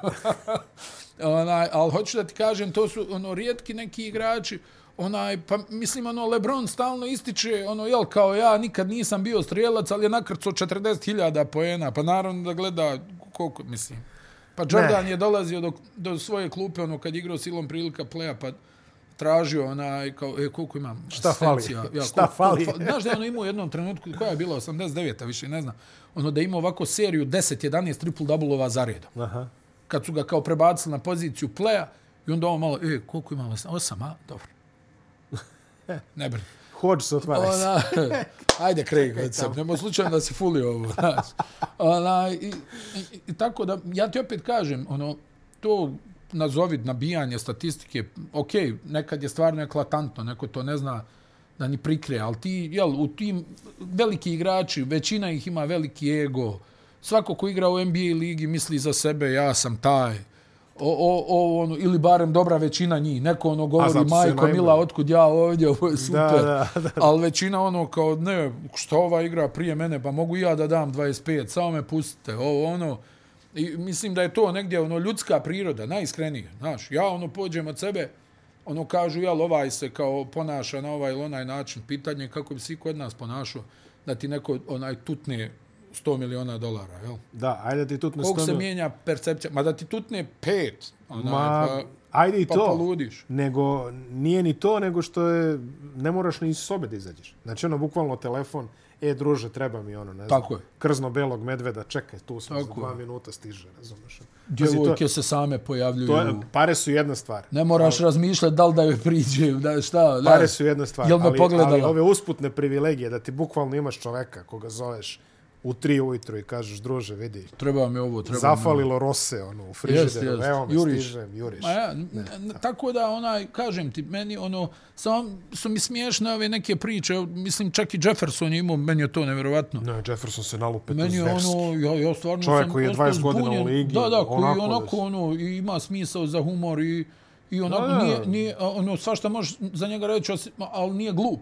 Speaker 2: onaj, ali hoću da ti kažem, to su ono rijetki neki igrači, onaj, pa mislim, ono, Lebron stalno ističe, ono, jel, kao ja nikad nisam bio strijelac, ali je nakrcao 40.000 poena, pa naravno da gleda koliko, mislim. Pa Jordan je dolazio do, do svoje klupe, ono, kad je igrao silom prilika playa, pa tražio onaj, kao, e, koliko imam
Speaker 1: Šta fali?
Speaker 2: asistencija,
Speaker 1: Šta
Speaker 2: koliko-
Speaker 1: fali?
Speaker 2: koliko Znaš da je ono imao u jednom trenutku, koja je bila 89-a, više ne znam, ono da je imao ovako seriju 10-11 triple-double-ova za redom.
Speaker 1: Aha.
Speaker 2: Kad su ga kao prebacili na poziciju playa i onda on malo, e, koliko imam, vas- osam, a? Dobro. Ne brini.
Speaker 1: Hodge se otvara.
Speaker 2: Ona, ajde, Craig, od sebe. Nemoj slučajno da se fuli ovo. znaš. Ona, i, i, i, tako da, ja ti opet kažem, ono, to nazovi nabijanje statistike, ok, nekad je stvarno eklatantno, neko to ne zna da ni prikrije, ali ti, jel, u tim veliki igrači, većina ih ima veliki ego, svako ko igra u NBA ligi misli za sebe, ja sam taj, o, o, o, ono, ili barem dobra većina njih, neko ono
Speaker 1: zato
Speaker 2: govori,
Speaker 1: su i
Speaker 2: majko,
Speaker 1: najbolji."
Speaker 2: mila, otkud ja ovdje, ovo je super.
Speaker 1: da, da.
Speaker 2: Ali većina ono kao, ne, što ova igra prije mene, pa mogu i ja da dam 25, samo me pustite, ovo ono. I mislim da je to negdje ono ljudska priroda, najiskrenije. Znaš, ja ono pođem od sebe, ono kažu, jel, ovaj se kao ponaša na ovaj ili onaj način, pitanje je kako bi svi kod nas ponašao da ti neko onaj tutne 100 miliona dolara, jel?
Speaker 1: Da, ajde ti tutne
Speaker 2: Koliko se
Speaker 1: stonu.
Speaker 2: mijenja percepcija? Ma da ti tutne pet, onaj,
Speaker 1: Ma,
Speaker 2: pa,
Speaker 1: ajde i
Speaker 2: pa
Speaker 1: to.
Speaker 2: poludiš.
Speaker 1: Nego, nije ni to, nego što je, ne moraš ni iz sobe da izađeš. Znači, ono, bukvalno telefon, e, druže, treba mi ono, ne znam,
Speaker 2: Tako je.
Speaker 1: krzno-belog medveda, čekaj, tu smo, za
Speaker 2: Tako
Speaker 1: dva
Speaker 2: je.
Speaker 1: minuta stiže, razumeš. ono. Pazi, to,
Speaker 2: Djevojke se same pojavljuju.
Speaker 1: to je, pare su jedna stvar.
Speaker 2: Ne moraš razmišljati da li da joj priđe, da, šta.
Speaker 1: Pare
Speaker 2: da.
Speaker 1: su jedna stvar.
Speaker 2: Jel me
Speaker 1: ali,
Speaker 2: pogledala?
Speaker 1: ali ove usputne privilegije, da ti bukvalno imaš čoveka koga zoveš u tri ujutru i kažeš, druže, vidi,
Speaker 2: Treba mi ovo, treba mi
Speaker 1: zafalilo rose, ono, u
Speaker 2: Jeste,
Speaker 1: frižideru,
Speaker 2: jeste.
Speaker 1: evo me,
Speaker 2: Juriš.
Speaker 1: stižem, juriš.
Speaker 2: Ma ja, n- n- tako da onaj kažem ti meni ono samo su mi smiješne ove neke priče mislim čak i Jefferson je imao meni je to nevjerovatno
Speaker 1: Ne, Jefferson se nalupe
Speaker 2: Meni je
Speaker 1: tu zverski.
Speaker 2: ono, ja, ja stvarno
Speaker 1: Čovjek
Speaker 2: sam
Speaker 1: koji je
Speaker 2: ostao
Speaker 1: 20 godina u
Speaker 2: zbunjen.
Speaker 1: ligi,
Speaker 2: Da, da, koji
Speaker 1: onako
Speaker 2: onako,
Speaker 1: da
Speaker 2: onako
Speaker 1: si-
Speaker 2: ono, i ima smisao za humor i, i onako,
Speaker 1: Da, da.
Speaker 2: nije, nije, a, ono, svašta možeš za njega reći, osim- ali nije glup.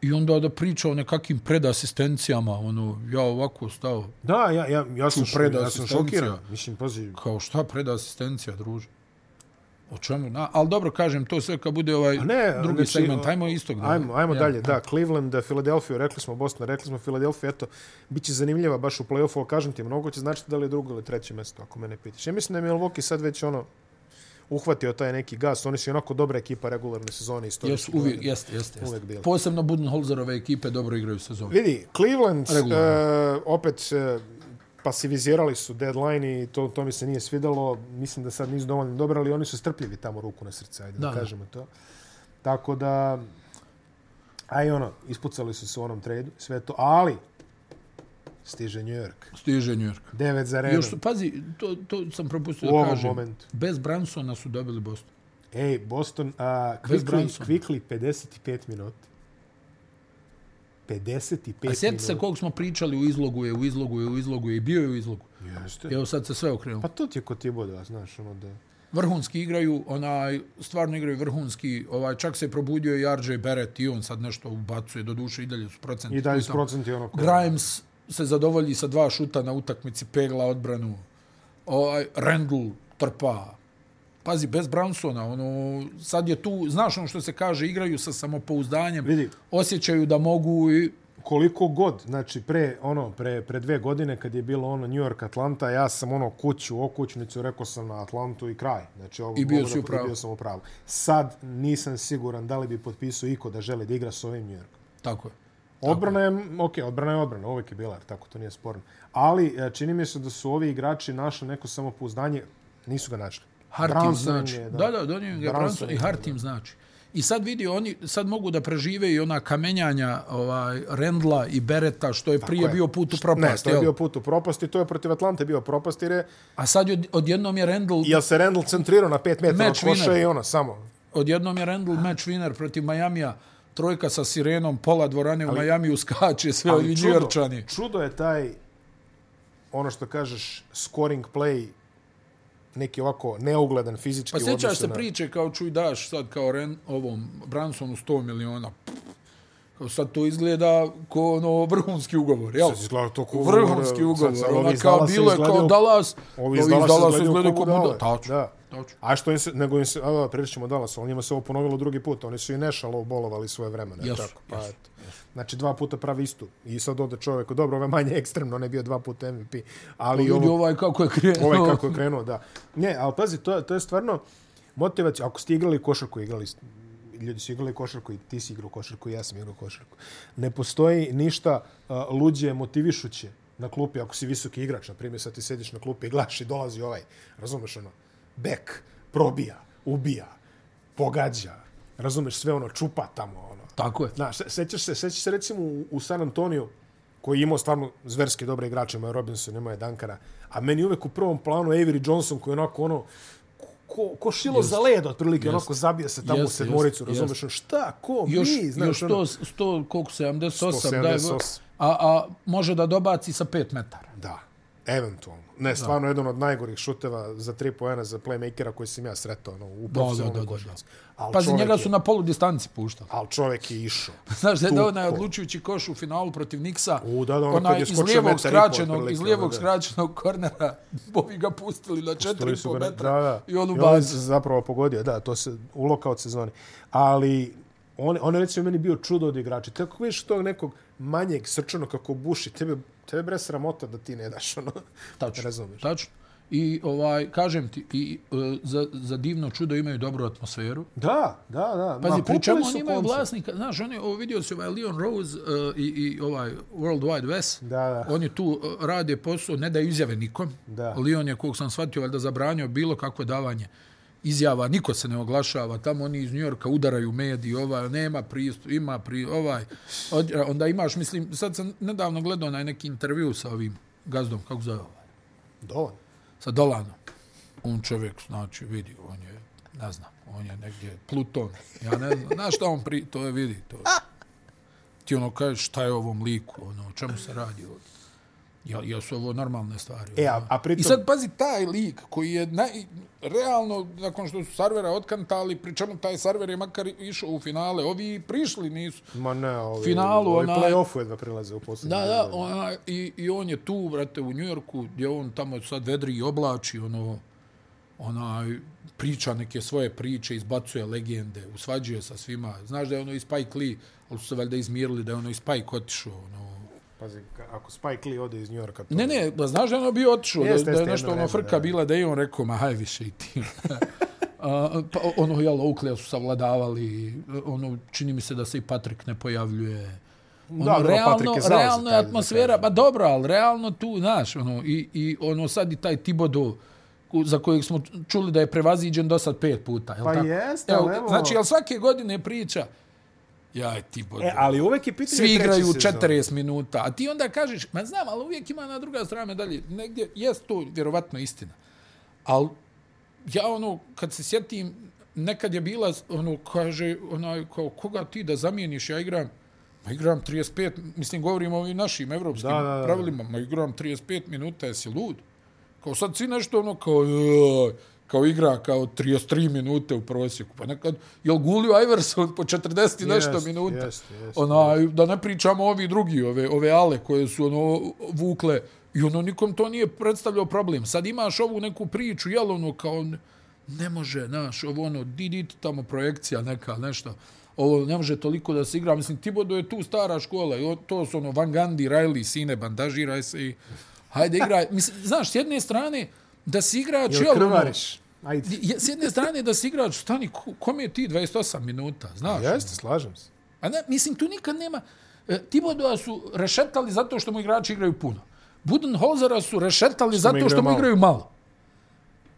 Speaker 2: I onda da priča o nekakvim predasistencijama, ono, ja ovako stao,
Speaker 1: Da, ja, ja, ja, sam,
Speaker 2: pred
Speaker 1: ja sam
Speaker 2: asistencija.
Speaker 1: šokiran. Mislim, pazi,
Speaker 2: kao šta predasistencija, druže? O čemu? Na, ali dobro, kažem, to sve kad bude ovaj
Speaker 1: A ne,
Speaker 2: drugi
Speaker 1: znači,
Speaker 2: segment, ajmo istog. dalje.
Speaker 1: Ajmo, ajmo
Speaker 2: Ja.
Speaker 1: dalje, da, Cleveland, Filadelfiju, rekli smo Boston, rekli smo Filadelfiju, eto, bit će zanimljiva baš u play-offu, ali kažem ti, mnogo će značiti da li je drugo ili treće mesto, ako mene pitaš. Ja mislim da mi je Milwaukee sad već ono, uhvatio taj neki gas, oni su i onako dobra ekipa regularne sezone
Speaker 2: Jesu,
Speaker 1: istorijski.
Speaker 2: uvijek, jeste, jeste.
Speaker 1: Uvijek
Speaker 2: jeste.
Speaker 1: bili.
Speaker 2: Posebno Budenholzerove ekipe dobro igraju sezonu.
Speaker 1: Vidi, Cleveland,
Speaker 2: Regularno.
Speaker 1: e, opet e, pasivizirali su deadline i to, to mi se nije svidalo. Mislim da sad nisu dovoljno dobro, ali oni su strpljivi tamo ruku na srce, ajde da,
Speaker 2: Da,
Speaker 1: da
Speaker 2: da.
Speaker 1: kažemo to. Tako da, a i ono, ispucali su se u onom tradu, sve to, ali stiže New York.
Speaker 2: Stiže New York.
Speaker 1: 9 za Renom.
Speaker 2: Još su, pazi, to, to sam propustio
Speaker 1: U
Speaker 2: da
Speaker 1: ovom
Speaker 2: kažem.
Speaker 1: momentu.
Speaker 2: Bez Bransona su dobili Boston.
Speaker 1: Ej, Boston, a,
Speaker 2: Bez
Speaker 1: quickly,
Speaker 2: Brunsona.
Speaker 1: quickly 55 minuta. 55
Speaker 2: A sjeti se
Speaker 1: minuta.
Speaker 2: koliko smo pričali u izlogu je, u izlogu je, u izlogu je i bio je u izlogu.
Speaker 1: Jeste.
Speaker 2: Evo sad se sve okrenulo.
Speaker 1: Pa to ti je kod Tiboda, znaš, ono da...
Speaker 2: Vrhunski igraju, onaj, stvarno igraju vrhunski, ovaj, čak se je probudio i RJ Barrett i on sad nešto ubacuje, do duše i dalje su procenti.
Speaker 1: I dalje
Speaker 2: tu
Speaker 1: s
Speaker 2: tamo.
Speaker 1: procenti ono koje...
Speaker 2: Grimes se zadovolji sa dva šuta na utakmici, pegla odbranu. Ovaj, Randall trpa. Pazi, bez Bransona, ono, sad je tu, znaš ono što se kaže, igraju sa samopouzdanjem,
Speaker 1: Vidi.
Speaker 2: osjećaju da mogu i...
Speaker 1: koliko god, znači pre ono pre pre dve godine kad je bilo ono New York Atlanta, ja sam ono kuću, okućnicu rekao sam na Atlantu i kraj. Znači ovo
Speaker 2: I bio
Speaker 1: mogu
Speaker 2: si
Speaker 1: da-
Speaker 2: u pravu.
Speaker 1: i bio sam u pravu. Sad nisam siguran da li bi potpisao iko da želi da igra s ovim New Yorkom.
Speaker 2: Tako je.
Speaker 1: Odbrana je, ok, odbrana je odbrana, uvek je bila, jer tako, to nije sporno. Ali e, čini mi se da su ovi igrači našli neko samopouzdanje, nisu ga našli.
Speaker 2: Hartim
Speaker 1: Brunson
Speaker 2: znači.
Speaker 1: je,
Speaker 2: da, da, donio
Speaker 1: Brunson
Speaker 2: ga Branson i
Speaker 1: je,
Speaker 2: Hartim znači. I sad vidi, oni sad mogu da prežive i ona kamenjanja ovaj, Rendla i Bereta, što je prije
Speaker 1: je.
Speaker 2: bio put u
Speaker 1: Ne,
Speaker 2: propast.
Speaker 1: to je
Speaker 2: jel?
Speaker 1: bio put u propasti, to je protiv Atlante bio propast, jer je
Speaker 2: A sad je, odjednom je Rendl
Speaker 1: Jel se Randall centrirao na 5 metara od
Speaker 2: Match
Speaker 1: koša
Speaker 2: winner.
Speaker 1: i ono, samo.
Speaker 2: odjednom je Randall match winner protiv Majamija. Trojka sa sirenom, pola dvorane u Majamiju skače, sve ovi Pa Njujorčani.
Speaker 1: čudo je taj, ono što kažeš, scoring play, neki ovako neugledan fizički u
Speaker 2: Pa
Speaker 1: odnosu
Speaker 2: sjećaš se
Speaker 1: na-
Speaker 2: priče kao čuj daš sad kao Ren, ovom Bransonu 100 miliona. Kao sad to izgleda kao ono vrhunski ugovor, jel?
Speaker 1: Sad izgleda to kao
Speaker 2: vrhunski
Speaker 1: ugovor,
Speaker 2: ugovor.
Speaker 1: sad- sad ovi
Speaker 2: ono
Speaker 1: iz
Speaker 2: kao
Speaker 1: Dallasa
Speaker 2: bilo je kao
Speaker 1: izgledaju-
Speaker 2: Dallas,
Speaker 1: Ovi iz Dallasa izgledaju kao budale.
Speaker 2: Tačno,
Speaker 1: Da.
Speaker 2: tačno.
Speaker 1: A što im se, nego im se, a, pričamo Dallas, ali njima se ovo ponovilo drugi put, oni su i nešalo bolovali svoje vremena. je
Speaker 2: Jesu,
Speaker 1: tako, pa,
Speaker 2: jesu,
Speaker 1: eto. Znači dva puta pravi istu. I sad ode čovjek, dobro, ovo je manje ekstremno, on je bio dva puta MVP. Ali
Speaker 2: Vidi
Speaker 1: ovo,
Speaker 2: ovaj kako je krenuo.
Speaker 1: ovaj kako je krenuo, da. Ne, ali pazi, to, to je stvarno motivacija. Ako ste igrali košarku, igrali ste- ljudi su igrali košarku i ti si igrao košarku i ja sam igrao košarku. Ne postoji ništa uh, luđe motivišuće na klupi ako si visoki igrač. Na primjer, sad ti sediš na klupi i glaš i dolazi ovaj, razumeš ono, bek, probija, ubija, pogađa, razumeš sve ono, čupa tamo, ono.
Speaker 2: Tako je.
Speaker 1: Znaš, se- sećaš se, sećaš se recimo u, u San Antoniju, koji je imao stvarno zverske dobre igrače, imao je Robinson, imao je Dankara, a meni je uvek u prvom planu Avery Johnson koji je onako ono, ko, ko šilo za led otprilike, onako zabija se tamo u
Speaker 2: Jest,
Speaker 1: sedmoricu,
Speaker 2: jest,
Speaker 1: razumeš, ono, šta, ko,
Speaker 2: Još,
Speaker 1: mi, znaš, ono,
Speaker 2: još 100, 100, koliko, 78,
Speaker 1: 178.
Speaker 2: da, a, a može da dobaci sa 5 metara.
Speaker 1: Da. Eventualno. Ne, stvarno jedan od najgorih šuteva za tri poena za playmakera koji sam ja sretao ono, u profesionalnoj
Speaker 2: da, da, da.
Speaker 1: košarci. Ali
Speaker 2: Pazi,
Speaker 1: čovjek
Speaker 2: njega
Speaker 1: je-
Speaker 2: su na polu distanci puštali.
Speaker 1: Ali čovjek je išao.
Speaker 2: Znaš da je
Speaker 1: Tu,
Speaker 2: dao onaj
Speaker 1: ko?
Speaker 2: odlučujući koš u finalu protiv Niksa,
Speaker 1: U, da, da, ono kad
Speaker 2: onaj
Speaker 1: je
Speaker 2: iz
Speaker 1: skočio metar
Speaker 2: lijevog
Speaker 1: i pol,
Speaker 2: skraćenog,
Speaker 1: otprilike,
Speaker 2: iz lijevog
Speaker 1: da.
Speaker 2: skraćenog kornera, bovi ga pustili na
Speaker 1: Pustili su
Speaker 2: 4,5
Speaker 1: ga na-
Speaker 2: metra
Speaker 1: da, da.
Speaker 2: i on u
Speaker 1: I on je
Speaker 2: bazu.
Speaker 1: zapravo pogodio, da, to se u lokaut sezoni. Ali on, on je recimo meni bio čudo od igrača. Tako kako vidiš tog nekog manjeg srčano kako buši, tebe, tebe bre sramota da ti ne daš ono.
Speaker 2: Tačno.
Speaker 1: Razumeš.
Speaker 2: Tačno. I ovaj kažem ti i e, za, za divno čudo imaju dobru atmosferu.
Speaker 1: Da, da, da. Ma,
Speaker 2: Pazi, Pa pri
Speaker 1: kupili
Speaker 2: čemu
Speaker 1: su
Speaker 2: oni imaju
Speaker 1: konce.
Speaker 2: vlasnika, znaš, oni ovo vidio se ovaj Leon Rose uh, i, i ovaj World Wide West.
Speaker 1: Da, da.
Speaker 2: Oni tu uh, rade posao, ne daju izjave nikom.
Speaker 1: Da.
Speaker 2: Leon je, kog sam shvatio, valjda zabranio bilo kakvo davanje izjava, niko se ne oglašava, tamo oni iz Njorka udaraju mediji, ovaj, nema pristup, ima pri, ovaj, od, onda imaš, mislim, sad sam nedavno gledao onaj neki intervju sa ovim gazdom, kako zove ovaj,
Speaker 1: Dovoljno.
Speaker 2: sa Dolanom. On čovjek, znači, vidi, on je, ne znam, on je negdje Pluton. Ja ne znam, znaš šta on pri... To je, vidi, to je. Ti ono kažeš, šta je ovom liku, ono, o čemu se radi ovdje? Ja, ja su ovo normalne stvari.
Speaker 1: E, a,
Speaker 2: ono.
Speaker 1: a pritom...
Speaker 2: I sad pazi taj lik koji je naj, realno, nakon što su Sarvera otkantali, pri čemu taj Sarver je makar išao u finale, ovi prišli nisu.
Speaker 1: Ma ne, ovi,
Speaker 2: Finalu,
Speaker 1: ovi
Speaker 2: onaj-
Speaker 1: play-offu jedva prilaze u posljednju.
Speaker 2: Da, da, ona, i, i on je tu, brate, u Njujorku, gdje on tamo sad vedri i oblači, ono, onaj, priča neke svoje priče, izbacuje legende, usvađuje sa svima. Znaš da je ono i Spike Lee, ali su se valjda izmirili da je ono i Spike otišao, ono.
Speaker 1: Pazi, ka- ako Spike Lee ode iz Njorka... To...
Speaker 2: Ne, ne, da znaš da je ono bio otišao, da,
Speaker 1: Jeste,
Speaker 2: da je
Speaker 1: jeste,
Speaker 2: nešto
Speaker 1: jedno
Speaker 2: ono
Speaker 1: vreme,
Speaker 2: frka
Speaker 1: da.
Speaker 2: bila da je on rekao, ma haj više i ti. A, pa ono, jel, Oakley su savladavali, ono, čini mi se da se i Patrick ne pojavljuje. Ono,
Speaker 1: Da, dobro,
Speaker 2: realno,
Speaker 1: Patrick je zauzet,
Speaker 2: realno je
Speaker 1: ajde da
Speaker 2: atmosfera,
Speaker 1: kažem.
Speaker 2: pa dobro, ali realno tu, znaš, ono, i, i ono sad i taj Tibodo, ku- za kojeg smo čuli da je prevaziđen do sad pet puta, jel
Speaker 1: Pa
Speaker 2: tako?
Speaker 1: jeste, ali evo-
Speaker 2: Znači, jel svake godine priča, ja je Tibodo,
Speaker 1: E, ali uvek je pitanje
Speaker 2: svi
Speaker 1: treće
Speaker 2: igraju
Speaker 1: sezone.
Speaker 2: 40 minuta, a ti onda kažeš, ma znam, ali uvijek ima na druga strana medalje. Negdje, jest to vjerovatno istina. Ali ja ono, kad se sjetim, nekad je bila, ono, kaže, onaj, kao, koga ti da zamijeniš, ja igram, ma igram 35, mislim, govorimo o ovim našim evropskim
Speaker 1: Da,
Speaker 2: da,
Speaker 1: da,
Speaker 2: da,
Speaker 1: da.
Speaker 2: pravilima, ma igram 35 minuta, jesi lud? Kao sad svi nešto ono, kao, joj, kao igra kao 33 minute u prosjeku. Pa nekad, jel Gulio Iverson po 40 i nešto
Speaker 1: Jest,
Speaker 2: minuta?
Speaker 1: jest, jest,
Speaker 2: Ona, da ne pričamo ovi drugi, ove, ove ale koje su ono vukle i ono nikom to nije predstavljao problem. Sad imaš ovu neku priču, jel ono kao ne može, znaš, ovo ono, didit tamo projekcija neka, nešto. Ovo ne može toliko da se igra. Mislim, Tibodo je tu stara škola. I on, to su ono Van Gandhi, Riley, sine, bandažiraj se i hajde igraj. Mislim, znaš, s jedne strane da si igrač,
Speaker 1: Jel
Speaker 2: jel, ono,
Speaker 1: krvariš? Ajde.
Speaker 2: je- s jedne strane da si igrač, stani, ko- kome je ti 28 minuta, znaš?
Speaker 1: Jeste, slažem se.
Speaker 2: A ne, mislim, tu nikad nema... E, Tibodoa su rešetali zato što mu igrači igraju puno. Budenholzera su rešetali što zato
Speaker 1: igraju
Speaker 2: što mu
Speaker 1: malo.
Speaker 2: igraju malo.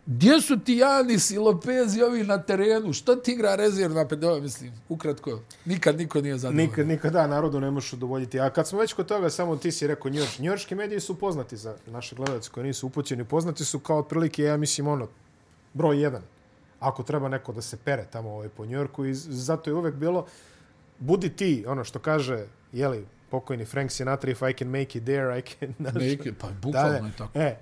Speaker 2: Gdje su ti Janis i Lopez i ovi na terenu? Šta ti igra rezervna pedova, mislim? Ukratko, nikad niko nije zadovoljan.
Speaker 1: Nikad, nikad da, narodu ne možeš udovoljiti. A kad smo već kod toga, samo ti si rekao Njorš. Njorški mediji su poznati za naše gledalce koji nisu upućeni. Poznati su kao otprilike, ja mislim, ono, broj jedan. Ako treba neko da se pere tamo ovaj, po Njorku. I z- zato je uvek bilo, budi ti, ono što kaže, jeli, pokojni Frank Sinatra, if I can make it there, I can...
Speaker 2: Nikad, pa
Speaker 1: Da,
Speaker 2: bukvalno je
Speaker 1: da.
Speaker 2: tako.
Speaker 1: E,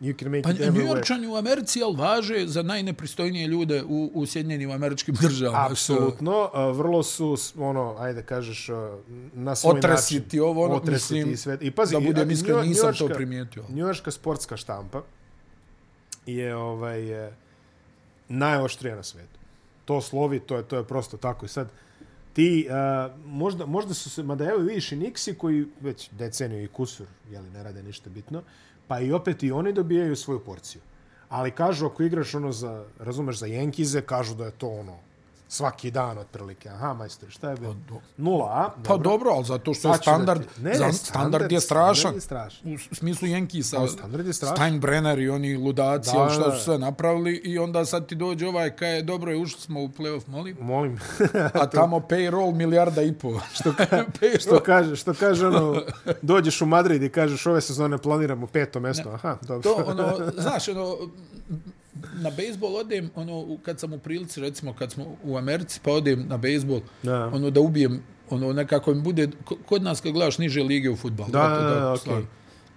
Speaker 1: you can make
Speaker 2: Pa
Speaker 1: it
Speaker 2: New
Speaker 1: everywhere.
Speaker 2: Yorkčani u Americi, jel, važe za najnepristojnije ljude u, u Sjedinjenim američkim državama.
Speaker 1: Apsolutno, a, vrlo su s- ono, ajde kažeš, a, na svoj
Speaker 2: Otresi
Speaker 1: način.
Speaker 2: ti ovo, ono,
Speaker 1: Otresi
Speaker 2: mislim,
Speaker 1: ti sve. I pazi,
Speaker 2: da
Speaker 1: i-
Speaker 2: budem
Speaker 1: a,
Speaker 2: iskren,
Speaker 1: njo-
Speaker 2: nisam to
Speaker 1: njujorška-
Speaker 2: primijetio.
Speaker 1: Njujorška sportska štampa je ovaj e, najoštrija na svijetu. To slovi, to je to je prosto tako i sad ti a, možda možda su se mada evo vidiš i Nixi koji već deceniju i kusur je li ne rade ništa bitno, pa i opet i oni dobijaju svoju porciju. Ali kažu ako igraš ono za razumeš za Jenkize, kažu da je to ono svaki dan otprilike. Aha, majstor, šta je bilo? Nula, a?
Speaker 2: Pa dobro, ali zato što je
Speaker 1: Sad ću da ti-
Speaker 2: standard,
Speaker 1: Znači, Ne, ne,
Speaker 2: za-
Speaker 1: standard-
Speaker 2: standard je
Speaker 1: standard
Speaker 2: strašan.
Speaker 1: je strašan.
Speaker 2: U s- smislu Jenkisa,
Speaker 1: Pa, standard je strašan.
Speaker 2: Steinbrenner i oni ludaci,
Speaker 1: Da,
Speaker 2: da, što
Speaker 1: da.
Speaker 2: su sve napravili i onda sad ti dođe ovaj kaj je dobro, je ušli smo u playoff, molim,
Speaker 1: Molim.
Speaker 2: a tamo payroll milijarda i po. Što, payroll,
Speaker 1: Što kaže, što kaže ono, dođeš u Madrid i kažeš ove sezone planiramo peto mesto. Aha, dobro.
Speaker 2: to, ono, znaš, ono, na bejsbol odem, ono, u- kad sam u prilici, recimo, kad smo u Americi, pa odem na bejsbol,
Speaker 1: Da.
Speaker 2: ono, da ubijem, ono, nekako mi bude, ko- kod nas kad gledaš niže lige u futbalu.
Speaker 1: Da, da, da, okej.
Speaker 2: stvarno.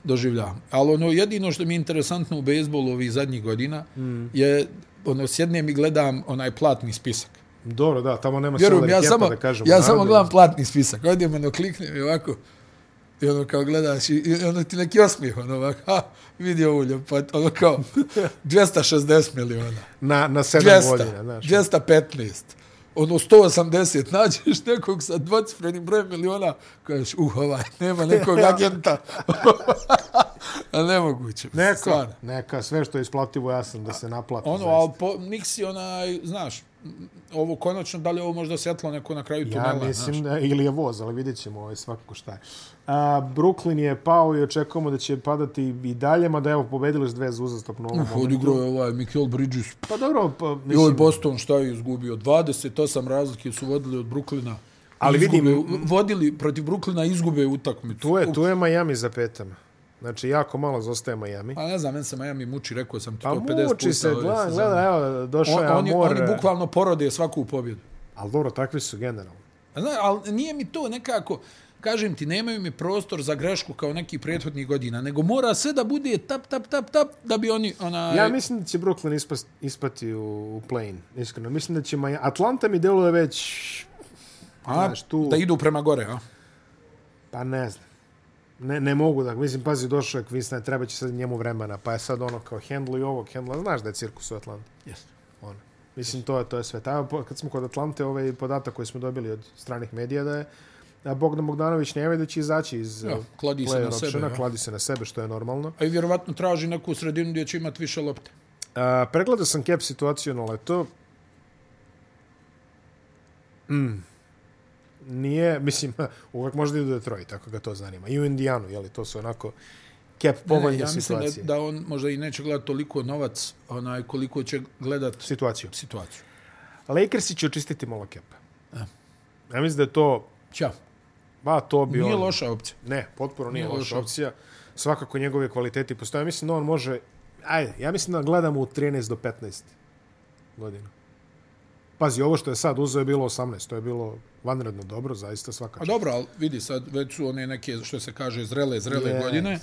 Speaker 2: doživljavam. Ali ono, jedino što mi je interesantno u bejsbolu ovih zadnjih godina mm. je, ono, sjednem i gledam onaj platni spisak.
Speaker 1: Dobro, da, tamo nema
Speaker 2: Vjerujem, ja
Speaker 1: salary capa,
Speaker 2: samo,
Speaker 1: da kažemo.
Speaker 2: ja samo
Speaker 1: narodu.
Speaker 2: gledam platni spisak. Ovdje ono kliknem i ovako, i ono kao gledaš, i, i ono ti neki osmijeh, ono ovako, ha, vidi ovu ljepot, ono kao 260 miliona.
Speaker 1: Na, na sedam
Speaker 2: 200,
Speaker 1: godina, znaš.
Speaker 2: 215. Ono 180, nađeš nekog sa dvocifrenim brojem miliona, kažeš, uh, ovaj, nema nekog agenta. A nemoguće. mislim,
Speaker 1: Neka,
Speaker 2: stvarno.
Speaker 1: neka, sve što je isplativo, ja sam da se naplati.
Speaker 2: Ono,
Speaker 1: zaista.
Speaker 2: ali po, Nixi, onaj, znaš, m, ovo konačno, da li je ovo možda setlo neko na kraju tunela?
Speaker 1: Ja
Speaker 2: znaš?
Speaker 1: mislim da, ili je voz, ali vidjet ćemo ovaj, svakako šta je. A, Brooklyn je pao i očekujemo da će padati i dalje, mada evo pobedili su dve uzastopno u ovom
Speaker 2: Uh, odigrao je ovaj Mikael Bridges.
Speaker 1: Pa dobro, pa,
Speaker 2: I ovaj
Speaker 1: mislim,
Speaker 2: Boston šta je izgubio? 28 razlike su vodili od Brooklyna.
Speaker 1: Ali
Speaker 2: Izgube-
Speaker 1: vidim-
Speaker 2: Vodili protiv Brooklyna izgube utakmicu.
Speaker 1: tu je, tu je Miami za petama. Znači, jako malo zostaje Miami.
Speaker 2: Pa ne znam, meni se Miami muči, rekao sam ti
Speaker 1: Pa
Speaker 2: to 50 puta.
Speaker 1: muči se,
Speaker 2: ove
Speaker 1: gleda,
Speaker 2: sezone.
Speaker 1: gleda, evo, došao je
Speaker 2: On, oni,
Speaker 1: Amor.
Speaker 2: oni bukvalno porode svaku pobjedu.
Speaker 1: Ali dobro, takvi su generalno.
Speaker 2: A Znaš, ali nije mi to nekako, kažem ti, nemaju mi prostor za grešku kao neki prethodnih godina, nego mora sve da bude tap, tap, tap, tap, da bi oni, ona...
Speaker 1: Ja mislim da će Brooklyn ispas, ispati u, u play-in, iskreno. Mislim da će Miami... Atlanta mi deluje već... znaš, tu-
Speaker 2: da idu prema gore, a?
Speaker 1: Pa ne znam. Ne, ne mogu da, mislim, pazi, došao je Kvisna, treba će sad njemu vremena, pa je sad ono kao hendluj ovog, hendla, znaš da je cirkus u Atlanti.
Speaker 2: Yes.
Speaker 1: Ono. Mislim, to je, to je sve. Ta, po- kad smo kod Atlante, ovaj podatak koji smo dobili od stranih medija da je a Bogdan Bogdanović ne vidi da će izaći iz
Speaker 2: Ja,
Speaker 1: eh,
Speaker 2: kladi se
Speaker 1: player
Speaker 2: na sebe, ja.
Speaker 1: kladi se na sebe, što je normalno.
Speaker 2: A i vjerovatno traži neku sredinu gdje će imati više lopte.
Speaker 1: A, pregledao sam cap situaciju na leto. Mm. Nije, mislim, uvek možda idu u Detroit, ako ga to zanima. I u Indijanu, jeli, to su onako cap
Speaker 2: Ne, ne,
Speaker 1: povoljne
Speaker 2: ja mislim
Speaker 1: situacije.
Speaker 2: da, da on možda i neće gledati toliko novac, onaj, koliko će gledat
Speaker 1: Situaciju.
Speaker 2: situaciju.
Speaker 1: Lakersi će očistiti malo cap.
Speaker 2: E.
Speaker 1: Ja mislim da je to,
Speaker 2: Ćao.
Speaker 1: ba, to bi
Speaker 2: Nije
Speaker 1: on-
Speaker 2: loša opcija.
Speaker 1: Ne, potpuno nije,
Speaker 2: Nije
Speaker 1: loša,
Speaker 2: loša.
Speaker 1: opcija. Svakako njegove kvaliteti postoje. Mislim da on može... Ajde, ja mislim da gledamo u 13 do 15 godina. Pazi, ovo što je sad uzeo je bilo 18. To je bilo vanredno dobro, zaista svaka
Speaker 2: Pa
Speaker 1: čast.
Speaker 2: dobro, ali vidi sad, već su one neke, što se kaže, zrele, zrele
Speaker 1: Jest.
Speaker 2: godine.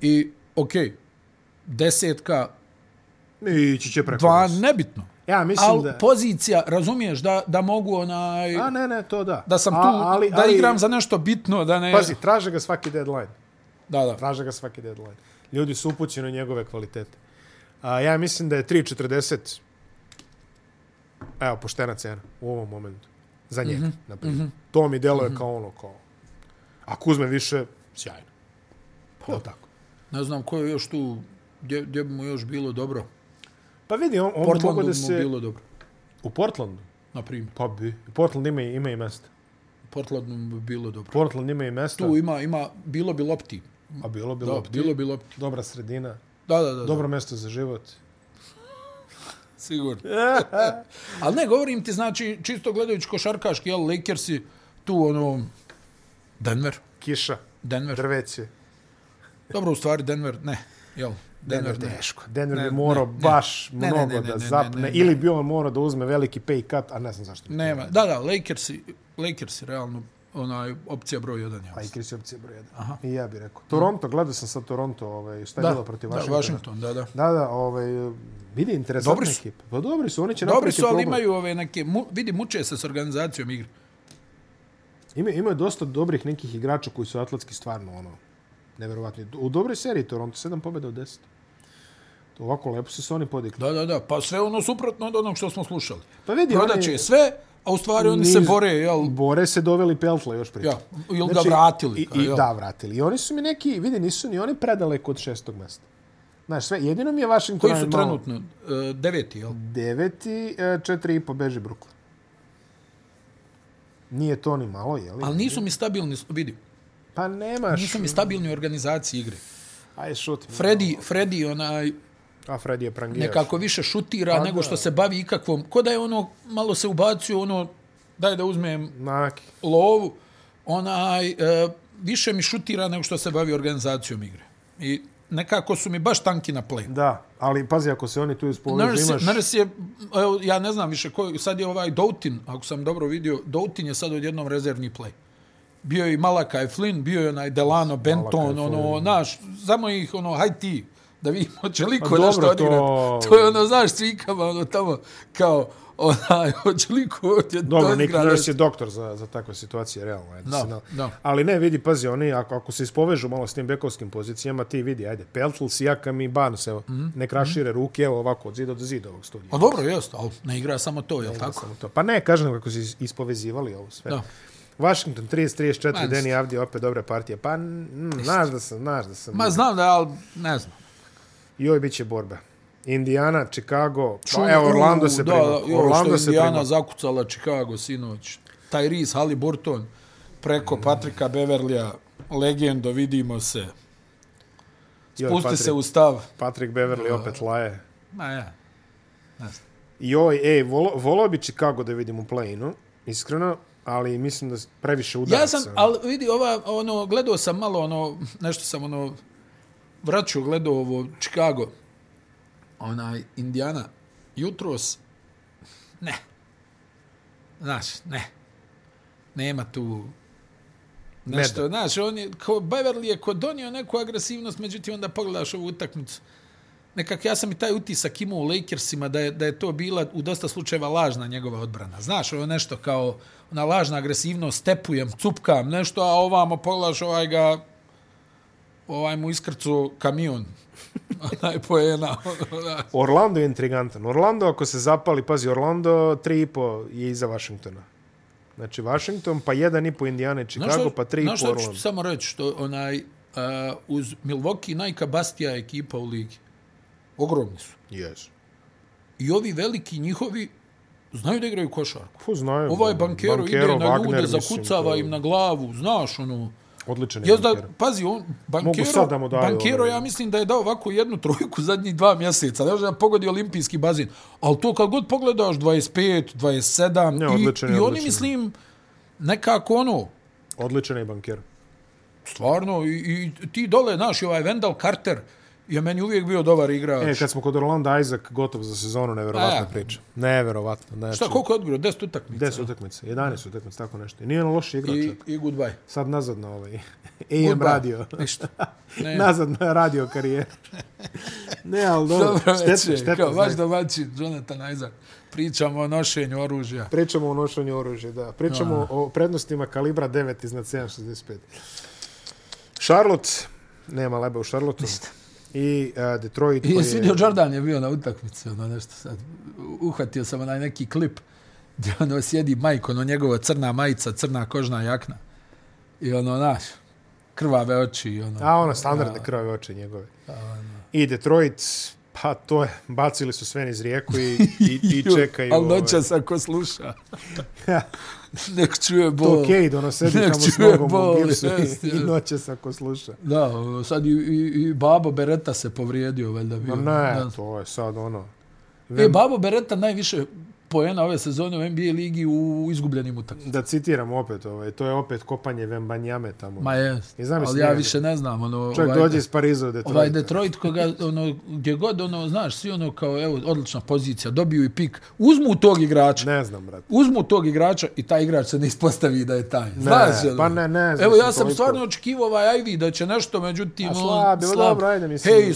Speaker 2: I, okej, desetka,
Speaker 1: Ići će preko.
Speaker 2: dva,
Speaker 1: nas.
Speaker 2: nebitno.
Speaker 1: Ja mislim
Speaker 2: Ali
Speaker 1: da...
Speaker 2: pozicija, razumiješ, da, da mogu onaj...
Speaker 1: A ne, ne, to da.
Speaker 2: Da sam tu,
Speaker 1: A, ali,
Speaker 2: da igram za nešto bitno, da ne...
Speaker 1: Pazi, traže ga svaki deadline.
Speaker 2: Da, da.
Speaker 1: Traže ga svaki deadline. Ljudi su upućeni u njegove kvalitete. A, ja mislim da je 3.40 evo, poštena cena u ovom momentu. Za njega, mm
Speaker 2: Mhm,
Speaker 1: -hmm. na primjer. Mm -hmm. To mi deluje mm -hmm. kao ono, kao... Ako uzme više, sjajno. Pa, to tako.
Speaker 2: Ne znam ko je još tu, gdje, gdje bi mu još bilo dobro.
Speaker 1: Pa vidi, on, on bi
Speaker 2: Portlandu
Speaker 1: mogao
Speaker 2: bi mu
Speaker 1: da se...
Speaker 2: bilo dobro,
Speaker 1: U Portlandu?
Speaker 2: na primjer.
Speaker 1: Pa bi. Portland ima, i- ima i mesta.
Speaker 2: Portlandu mu bi bilo dobro.
Speaker 1: Portland ima i mesta.
Speaker 2: Tu ima, ima, bilo bi lopti.
Speaker 1: A bilo, bilo.
Speaker 2: Da,
Speaker 1: opti-
Speaker 2: bilo bi lopti.
Speaker 1: Dobra sredina.
Speaker 2: Da, da, da. da.
Speaker 1: Dobro mesto za život.
Speaker 2: Sigurno. Ali ne, govorim ti, znači, čisto gledajući košarkaški, jel, Lakersi, tu ono, Denver,
Speaker 1: Kiša.
Speaker 2: Denver.
Speaker 1: Drveće.
Speaker 2: Dobro, u stvari Denver, ne, jel, Denver, ne.
Speaker 1: teško. Denver bi morao baš
Speaker 2: ne, ne,
Speaker 1: mnogo
Speaker 2: ne, ne,
Speaker 1: da
Speaker 2: ne, ne,
Speaker 1: zapne.
Speaker 2: ne, ne.
Speaker 1: Ili bi on morao da uzme veliki pay cut, a ne znam zašto. bi to
Speaker 2: Nema, da, da, Lakersi, Lakersi, realno, onaj, opcija broj 1, jel.
Speaker 1: Lakers je opcija broj 1. I ja bih rekao. Toronto, gledao sam sad Toronto, ovaj, šta je bilo protiv
Speaker 2: da,
Speaker 1: Washingtona.
Speaker 2: Washington, da, da.
Speaker 1: Da, da, ovaj, vidi, interesantna
Speaker 2: Dobri su.
Speaker 1: ekipa. Pa dobri su, oni će
Speaker 2: Dobri
Speaker 1: napraviti
Speaker 2: su, ali
Speaker 1: problem.
Speaker 2: imaju ove neke, mu, vidi, muče se s organizacijom igre.
Speaker 1: Ima, imaju dosta dobrih nekih igrača koji su atletski stvarno ono, neverovatni. U dobroj seriji Toronto, 7 pobjeda od 10. Ovako lepo su se oni podigli.
Speaker 2: Da, da, da, pa sve ono suprotno od onog što smo slušali.
Speaker 1: Pa vidi,
Speaker 2: Prodaće
Speaker 1: oni-
Speaker 2: sve, a u stvari oni se
Speaker 1: Niz-
Speaker 2: bore, jel,
Speaker 1: Bore se doveli Peltla još prije. Znači,
Speaker 2: Ja, ili ga vratili,
Speaker 1: I,
Speaker 2: kao,
Speaker 1: i,
Speaker 2: jel?
Speaker 1: da, vratili. I oni su mi neki, vidi, nisu ni oni predaleko od šestog mesta. Znaš, sve, jedino mi je Washington...
Speaker 2: koji su
Speaker 1: malo-
Speaker 2: trenutno, e, deveti, jel?
Speaker 1: Deveti, e, četiri i po beži Brooklyn. Nije to ni malo, jeli?
Speaker 2: Ali nisu mi stabilni, vidi,
Speaker 1: Pa nemaš.
Speaker 2: nisu mi stabilni u organizaciji igre.
Speaker 1: Aj, šut.
Speaker 2: Freddy, Freddy onaj
Speaker 1: A Fred je prangiraš.
Speaker 2: nekako više
Speaker 1: Pa
Speaker 2: šutira nego što se bavi ikakvom. Ko da je ono, malo se ubacio ono, daj da uzmem
Speaker 1: Naki.
Speaker 2: lovu, onaj, e, više mi šutira nego što se bavi organizacijom igre. I nekako su mi baš tanki na play.
Speaker 1: Da, ali pazi, ako se oni tu ispoloži,
Speaker 2: Nurse,
Speaker 1: imaš...
Speaker 2: imaš... Nurse je, evo, ja ne znam više ko, sad je ovaj Doutin, ako sam dobro vidio, Doutin je sad odjednom rezervni play. bio je i Malakai Flynn, bio je onaj Delano Benton,
Speaker 1: Malakai
Speaker 2: ono,
Speaker 1: Flynn. Pa
Speaker 2: naš, samo ih, ono, haj ti, da vidimo će li ko
Speaker 1: dobro,
Speaker 2: nešto
Speaker 1: to-
Speaker 2: odigrati. To je ono, znaš, cikama, ono, tamo, kao, onaj, hoće li ko ovdje
Speaker 1: Dobro,
Speaker 2: da
Speaker 1: Nick
Speaker 2: odigra
Speaker 1: Nurse
Speaker 2: nešto?
Speaker 1: je doktor za, za takve situacije, realno. Ajde,
Speaker 2: Da,
Speaker 1: se na-
Speaker 2: da.
Speaker 1: Ali ne, vidi, pazi, oni, ako, ako se ispovežu malo s tim bekovskim pozicijama, ti vidi, ajde, Peltl, Sijakam i Barnes, evo,
Speaker 2: Mhm,
Speaker 1: ne krašire ruke, evo, ovako, od zida do zida ovog studija.
Speaker 2: Pa dobro, jest, ali ne igra samo to, jel tako?
Speaker 1: Samo to. Pa ne, kažem kako su is- ispovezivali ovo sve.
Speaker 2: Da.
Speaker 1: Washington 30-34,
Speaker 2: Ma,
Speaker 1: Deni Avdi, opet dobra partija. Pa, mm, znaš da sam, znaš da sam.
Speaker 2: Ma znam da, je, ali ne znam.
Speaker 1: Joj, bit će borbe. Indiana, Chicago,
Speaker 2: Čuno-
Speaker 1: pa, evo, Orlando se
Speaker 2: da,
Speaker 1: prima.
Speaker 2: Da, jo,
Speaker 1: Orlando
Speaker 2: Orlando
Speaker 1: se
Speaker 2: Indiana
Speaker 1: prima.
Speaker 2: zakucala Chicago sinoć. Tyrese Halliburton
Speaker 1: Mm.
Speaker 2: preko Patrika Beverlija, legendo, vidimo se.
Speaker 1: Joj,
Speaker 2: Pusti
Speaker 1: Patrick-
Speaker 2: se u stav.
Speaker 1: Patrick Beverly opet laje.
Speaker 2: Ma ja. Ne znam.
Speaker 1: Joj, ej, ovaj, e, volo, volao bi Chicago da vidim u play-inu, iskreno, ali mislim da s- previše udaraca.
Speaker 2: Ja sam, ali vidi, ova, ono, gledao sam malo, ono, nešto sam, ono, vraćao, gledao ovo, Chicago, onaj, Indiana, jutros, ne. Znaš, ne. Nema tu nešto,
Speaker 1: Meda.
Speaker 2: znaš, on je, ko, Beverly je ko donio neku agresivnost, međutim, onda pogledaš ovu utakmicu. Nekak ja sam i taj utisak imao u Lakersima da je, da je to bila u dosta slučajeva lažna njegova odbrana. Znaš, ovo je nešto kao ona lažna agresivnost, stepujem, cupkam nešto, a ovamo pogledaš ovaj ga ovaj mu iskrcu kamion. Onaj pojena.
Speaker 1: Orlando je intrigantan. Orlando, ako se zapali, pazi, Orlando 3,5 je iza Washingtona. Znači, Washington, pa 1,5 Indiana i Chicago, pa 3,5
Speaker 2: Znaš što
Speaker 1: Orlando.
Speaker 2: ću samo reći? Što onaj, uh, uz Milwaukee najkabastija ekipa u ligi. Ogromni su.
Speaker 1: Yes.
Speaker 2: I ovi veliki njihovi znaju da igraju košarku.
Speaker 1: Ko znaju? ono,
Speaker 2: Ovaj bankero, bankero ide na
Speaker 1: Wagner,
Speaker 2: ljude,
Speaker 1: mislim,
Speaker 2: zakucava
Speaker 1: to je
Speaker 2: im na glavu, znaš, ono.
Speaker 1: Odličan je
Speaker 2: Jes da,
Speaker 1: bankero.
Speaker 2: pazi, on, bankero,
Speaker 1: sad da mu daju,
Speaker 2: bankero
Speaker 1: ono.
Speaker 2: ja mislim da je dao ovako jednu trojku zadnjih dva mjeseca, da da pogodi olimpijski bazin. Ali to kad god pogledaš, 25, 27,
Speaker 1: Ne,
Speaker 2: i,
Speaker 1: odličan je,
Speaker 2: i oni,
Speaker 1: odličan je.
Speaker 2: mislim, nekako ono,
Speaker 1: Odličan je bankero.
Speaker 2: stvarno, i, i ti dole, znaš, i ovaj Wendell Carter je meni uvijek bio dobar igrač.
Speaker 1: E, kad smo kod Orlando, Isaac gotov za sezonu, neverovatna
Speaker 2: A ja.
Speaker 1: priča. Neverovatno. Znači,
Speaker 2: E. Šta, koliko je odgrao? 10 utakmica.
Speaker 1: 10 utakmica, 11 utakmica, tako nešto. I nije on loš igrač.
Speaker 2: I, i goodbye.
Speaker 1: Sad nazad na ovaj AM
Speaker 2: Goodbye.
Speaker 1: radio.
Speaker 2: Ništa. Ne.
Speaker 1: Nazad na radio karijeru. ne, ali dobro.
Speaker 2: Dobro
Speaker 1: šteta,
Speaker 2: večer,
Speaker 1: šteta,
Speaker 2: kao vaš
Speaker 1: znaš.
Speaker 2: domaćin Jonathan Isaac. Pričamo o nošenju oružja.
Speaker 1: Pričamo o nošenju oružja, da. Pričamo o prednostima kalibra 9 iznad 7.65. Charlotte, nema leba u Charlotteu. I uh, Detroit
Speaker 2: I
Speaker 1: koji
Speaker 2: jesi vidio, Jordan je bio na utakmici, ono nešto sad. U- Uhvatio sam onaj neki klip gdje ono sjedi majko, ono njegova crna majica, crna kožna jakna. I ono, naš, krvave oči i ono.
Speaker 1: A ono, standardne krvave oči njegove. I Detroit, pa to je, bacili su sve niz rijeku i, i, i čekaju.
Speaker 2: Ali
Speaker 1: ovaj,
Speaker 2: noćas ako sluša, nek čuje bol.
Speaker 1: To Cade, ono, sedi
Speaker 2: Nek
Speaker 1: tamo s
Speaker 2: čuje
Speaker 1: nogom
Speaker 2: Znači, bol,
Speaker 1: u gipsu
Speaker 2: jest,
Speaker 1: i, i
Speaker 2: jest.
Speaker 1: noćas ako sluša.
Speaker 2: Da, ono, sad i, i, i babo Beretta se povrijedio, valjda bio.
Speaker 1: Ma
Speaker 2: Da.
Speaker 1: ne, to je sad ono...
Speaker 2: E, Babo Beretta najviše poena ove sezone u NBA ligi u izgubljenim utakmicama.
Speaker 1: Da citiram opet, ovaj, to je opet kopanje Vembanjame tamo.
Speaker 2: Ma jest.
Speaker 1: I znam
Speaker 2: ali
Speaker 1: mislim,
Speaker 2: ja
Speaker 1: ne,
Speaker 2: više ne znam. Ono,
Speaker 1: Čovjek
Speaker 2: ovaj,
Speaker 1: dođe iz Pariza u Detroit.
Speaker 2: Ovaj Detroit koga, ono, gdje god, ono, znaš, svi ono kao, evo, odlična pozicija, dobiju i pik. Uzmu tog igrača,
Speaker 1: Ne znam, brate.
Speaker 2: uzmu tog igrača i taj igrač se ne ispostavi da je taj. Znaš, ono.
Speaker 1: pa ne, ne znam
Speaker 2: Evo, ja
Speaker 1: se
Speaker 2: sam
Speaker 1: toliko.
Speaker 2: stvarno očekivao ovaj Ivy da će nešto, međutim,
Speaker 1: A slab je, dobro, ajde, mislim.
Speaker 2: Hej,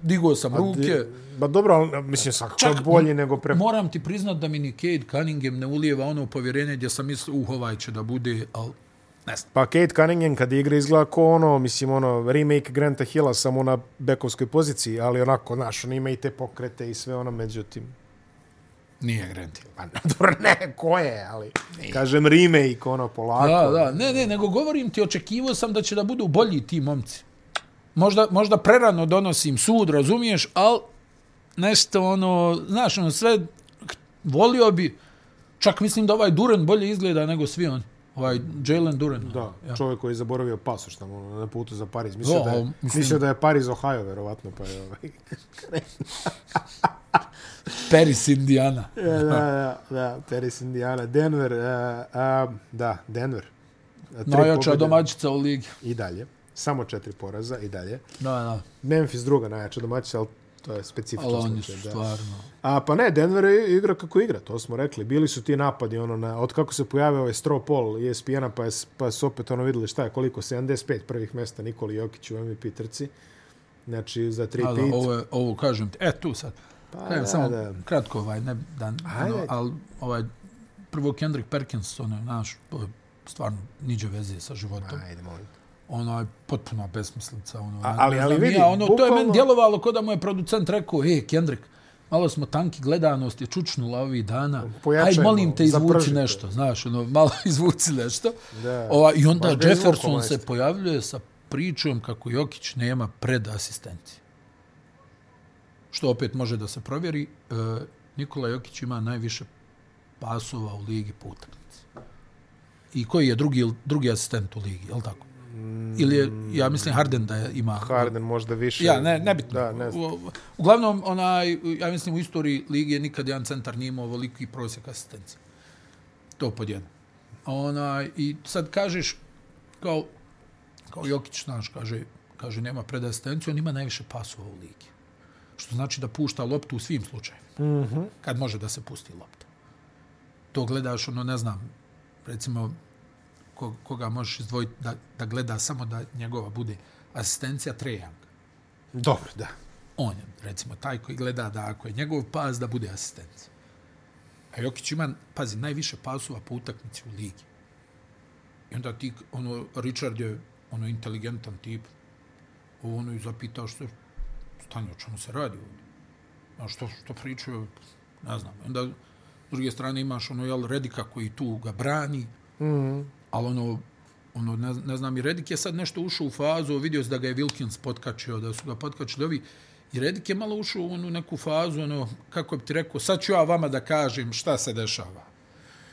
Speaker 2: digao sam ruke.
Speaker 1: Ba dobro, ali mislim, svakako
Speaker 2: Čak-
Speaker 1: Čak, bolji nego pre...
Speaker 2: Moram ti priznat da mi ni Cade Cunningham ne ulijeva ono povjerenje gdje sam mislio, uh, ovaj će da bude, ali ne znam.
Speaker 1: Pa Kate Cunningham kad igra izgleda ko ono, mislim, ono, remake Granta Hilla samo na bekovskoj poziciji, ali onako, znaš, on ima i te pokrete i sve ono, međutim...
Speaker 2: Nije Grant Hill.
Speaker 1: Pa ne, dobro, ne, ko je, ali... Kažem remake, ono, polako.
Speaker 2: Da, da, ne, ne, nego govorim ti, očekivao sam da će da budu bolji ti momci. Možda, možda prerano donosim sud, razumiješ, ali nešto ono, znaš, ono sve volio bi, čak mislim da ovaj Duren bolje izgleda nego svi oni. Ovaj Jalen Duren.
Speaker 1: Da, ja. čovjek koji je zaboravio pasoš tamo ono, na putu za Pariz.
Speaker 2: Da,
Speaker 1: Mislio, da, je,
Speaker 2: ali mislim-
Speaker 1: mislio da je Pariz Ohio, verovatno, pa je ovaj...
Speaker 2: Paris, Indiana.
Speaker 1: da, da, da, Paris, Indiana, Denver, uh, uh, da, Denver. Tri
Speaker 2: Najjača
Speaker 1: pobjede
Speaker 2: domaćica u ligi.
Speaker 1: I dalje. Samo četiri poraza i dalje.
Speaker 2: Da, da.
Speaker 1: Memphis druga najjača domaćica, ali to je specifično
Speaker 2: Ali oni su
Speaker 1: slučaj. Da.
Speaker 2: stvarno...
Speaker 1: A pa ne, Denver je igra kako igra, to smo rekli. Bili su ti napadi, ono, na, od kako se pojavio ovaj Stropol ESPN-a, pa, je, s- pa su opet ono videli šta je, koliko, 75 prvih mesta Nikoli Jokić u MVP trci. Znači, za tri
Speaker 2: Ali
Speaker 1: pit.
Speaker 2: ovo, je- ovo kažem ti, e tu sad.
Speaker 1: Pa,
Speaker 2: Kažem,
Speaker 1: da,
Speaker 2: samo
Speaker 1: da.
Speaker 2: kratko ovaj, ne, da,
Speaker 1: Ajde.
Speaker 2: ono, ali ovaj, prvo Kendrick Perkins, ono, naš, to je stvarno niđe veze sa životom.
Speaker 1: Ajde, molim. te.
Speaker 2: Ono je potpuno besmislica. Ono,
Speaker 1: A-
Speaker 2: ja
Speaker 1: ali-
Speaker 2: ne
Speaker 1: ali
Speaker 2: znam ni
Speaker 1: vidi,
Speaker 2: ja, ono, To je
Speaker 1: bukvalno-
Speaker 2: meni djelovalo kao da mu je producent rekao, e, Kendrick, malo smo tanki, gledanost je čučnula ovih dana.
Speaker 1: Pojačaj
Speaker 2: Aj, molim
Speaker 1: malo,
Speaker 2: te, izvuci
Speaker 1: zapržite."
Speaker 2: nešto. Znaš, ono, malo izvuci nešto.
Speaker 1: Da.
Speaker 2: Ova, I onda
Speaker 1: Baš ga je izvukao,
Speaker 2: Jefferson se
Speaker 1: majstor.
Speaker 2: pojavljuje sa pričom kako Jokić nema pred asistencije. Što opet može da se provjeri. E, Nikola Jokić ima najviše pasova u ligi po utakmici. I koji je drugi, drugi asistent u ligi, je li tako? Ili je, ja mislim, Harden da je, ima...
Speaker 1: Harden možda više.
Speaker 2: Ja, ne, nebitno.
Speaker 1: Da, ne znam.
Speaker 2: U- Uglavnom, onaj, ja mislim, u istoriji lige nikad jedan centar nije imao ovoliki prosjek asistencije. To pod jedan. A Onaj, I sad kažeš, kao, kao Jokić, znaš, kaže, kaže nema pred asistenciju, on ima najviše pasova u ligi. Što znači da pušta loptu u svim slučajima. Mm
Speaker 1: Mhm.
Speaker 2: -hmm. Kad može da se pusti lopta. To gledaš, ono, ne znam, recimo, ko, koga možeš izdvojiti da, da gleda samo da njegova bude asistencija trejanga
Speaker 1: Dobro, da.
Speaker 2: on je, recimo, taj koji gleda da ako je njegov pas, da bude asistent. A Jokić ima, pazi, najviše pasova po utakmici u ligi. I onda ti, ono, Richard je, ono, inteligentan tip. Ovo, ono, i zapitao što, stanje, o čemu se radi ovdje. A što, što pričaju, ne znam. I onda, s druge strane, imaš, ono, jel, Redika koji tu ga brani, ali ono, ono ne, ne znam, i Redik je sad nešto ušao u fazu, vidio se da ga je Wilkins potkačio, da su ga potkačili ovi, i Redik je malo ušao u onu neku fazu, ono, kako bi ti rekao, sad ću ja vama da kažem šta se dešava.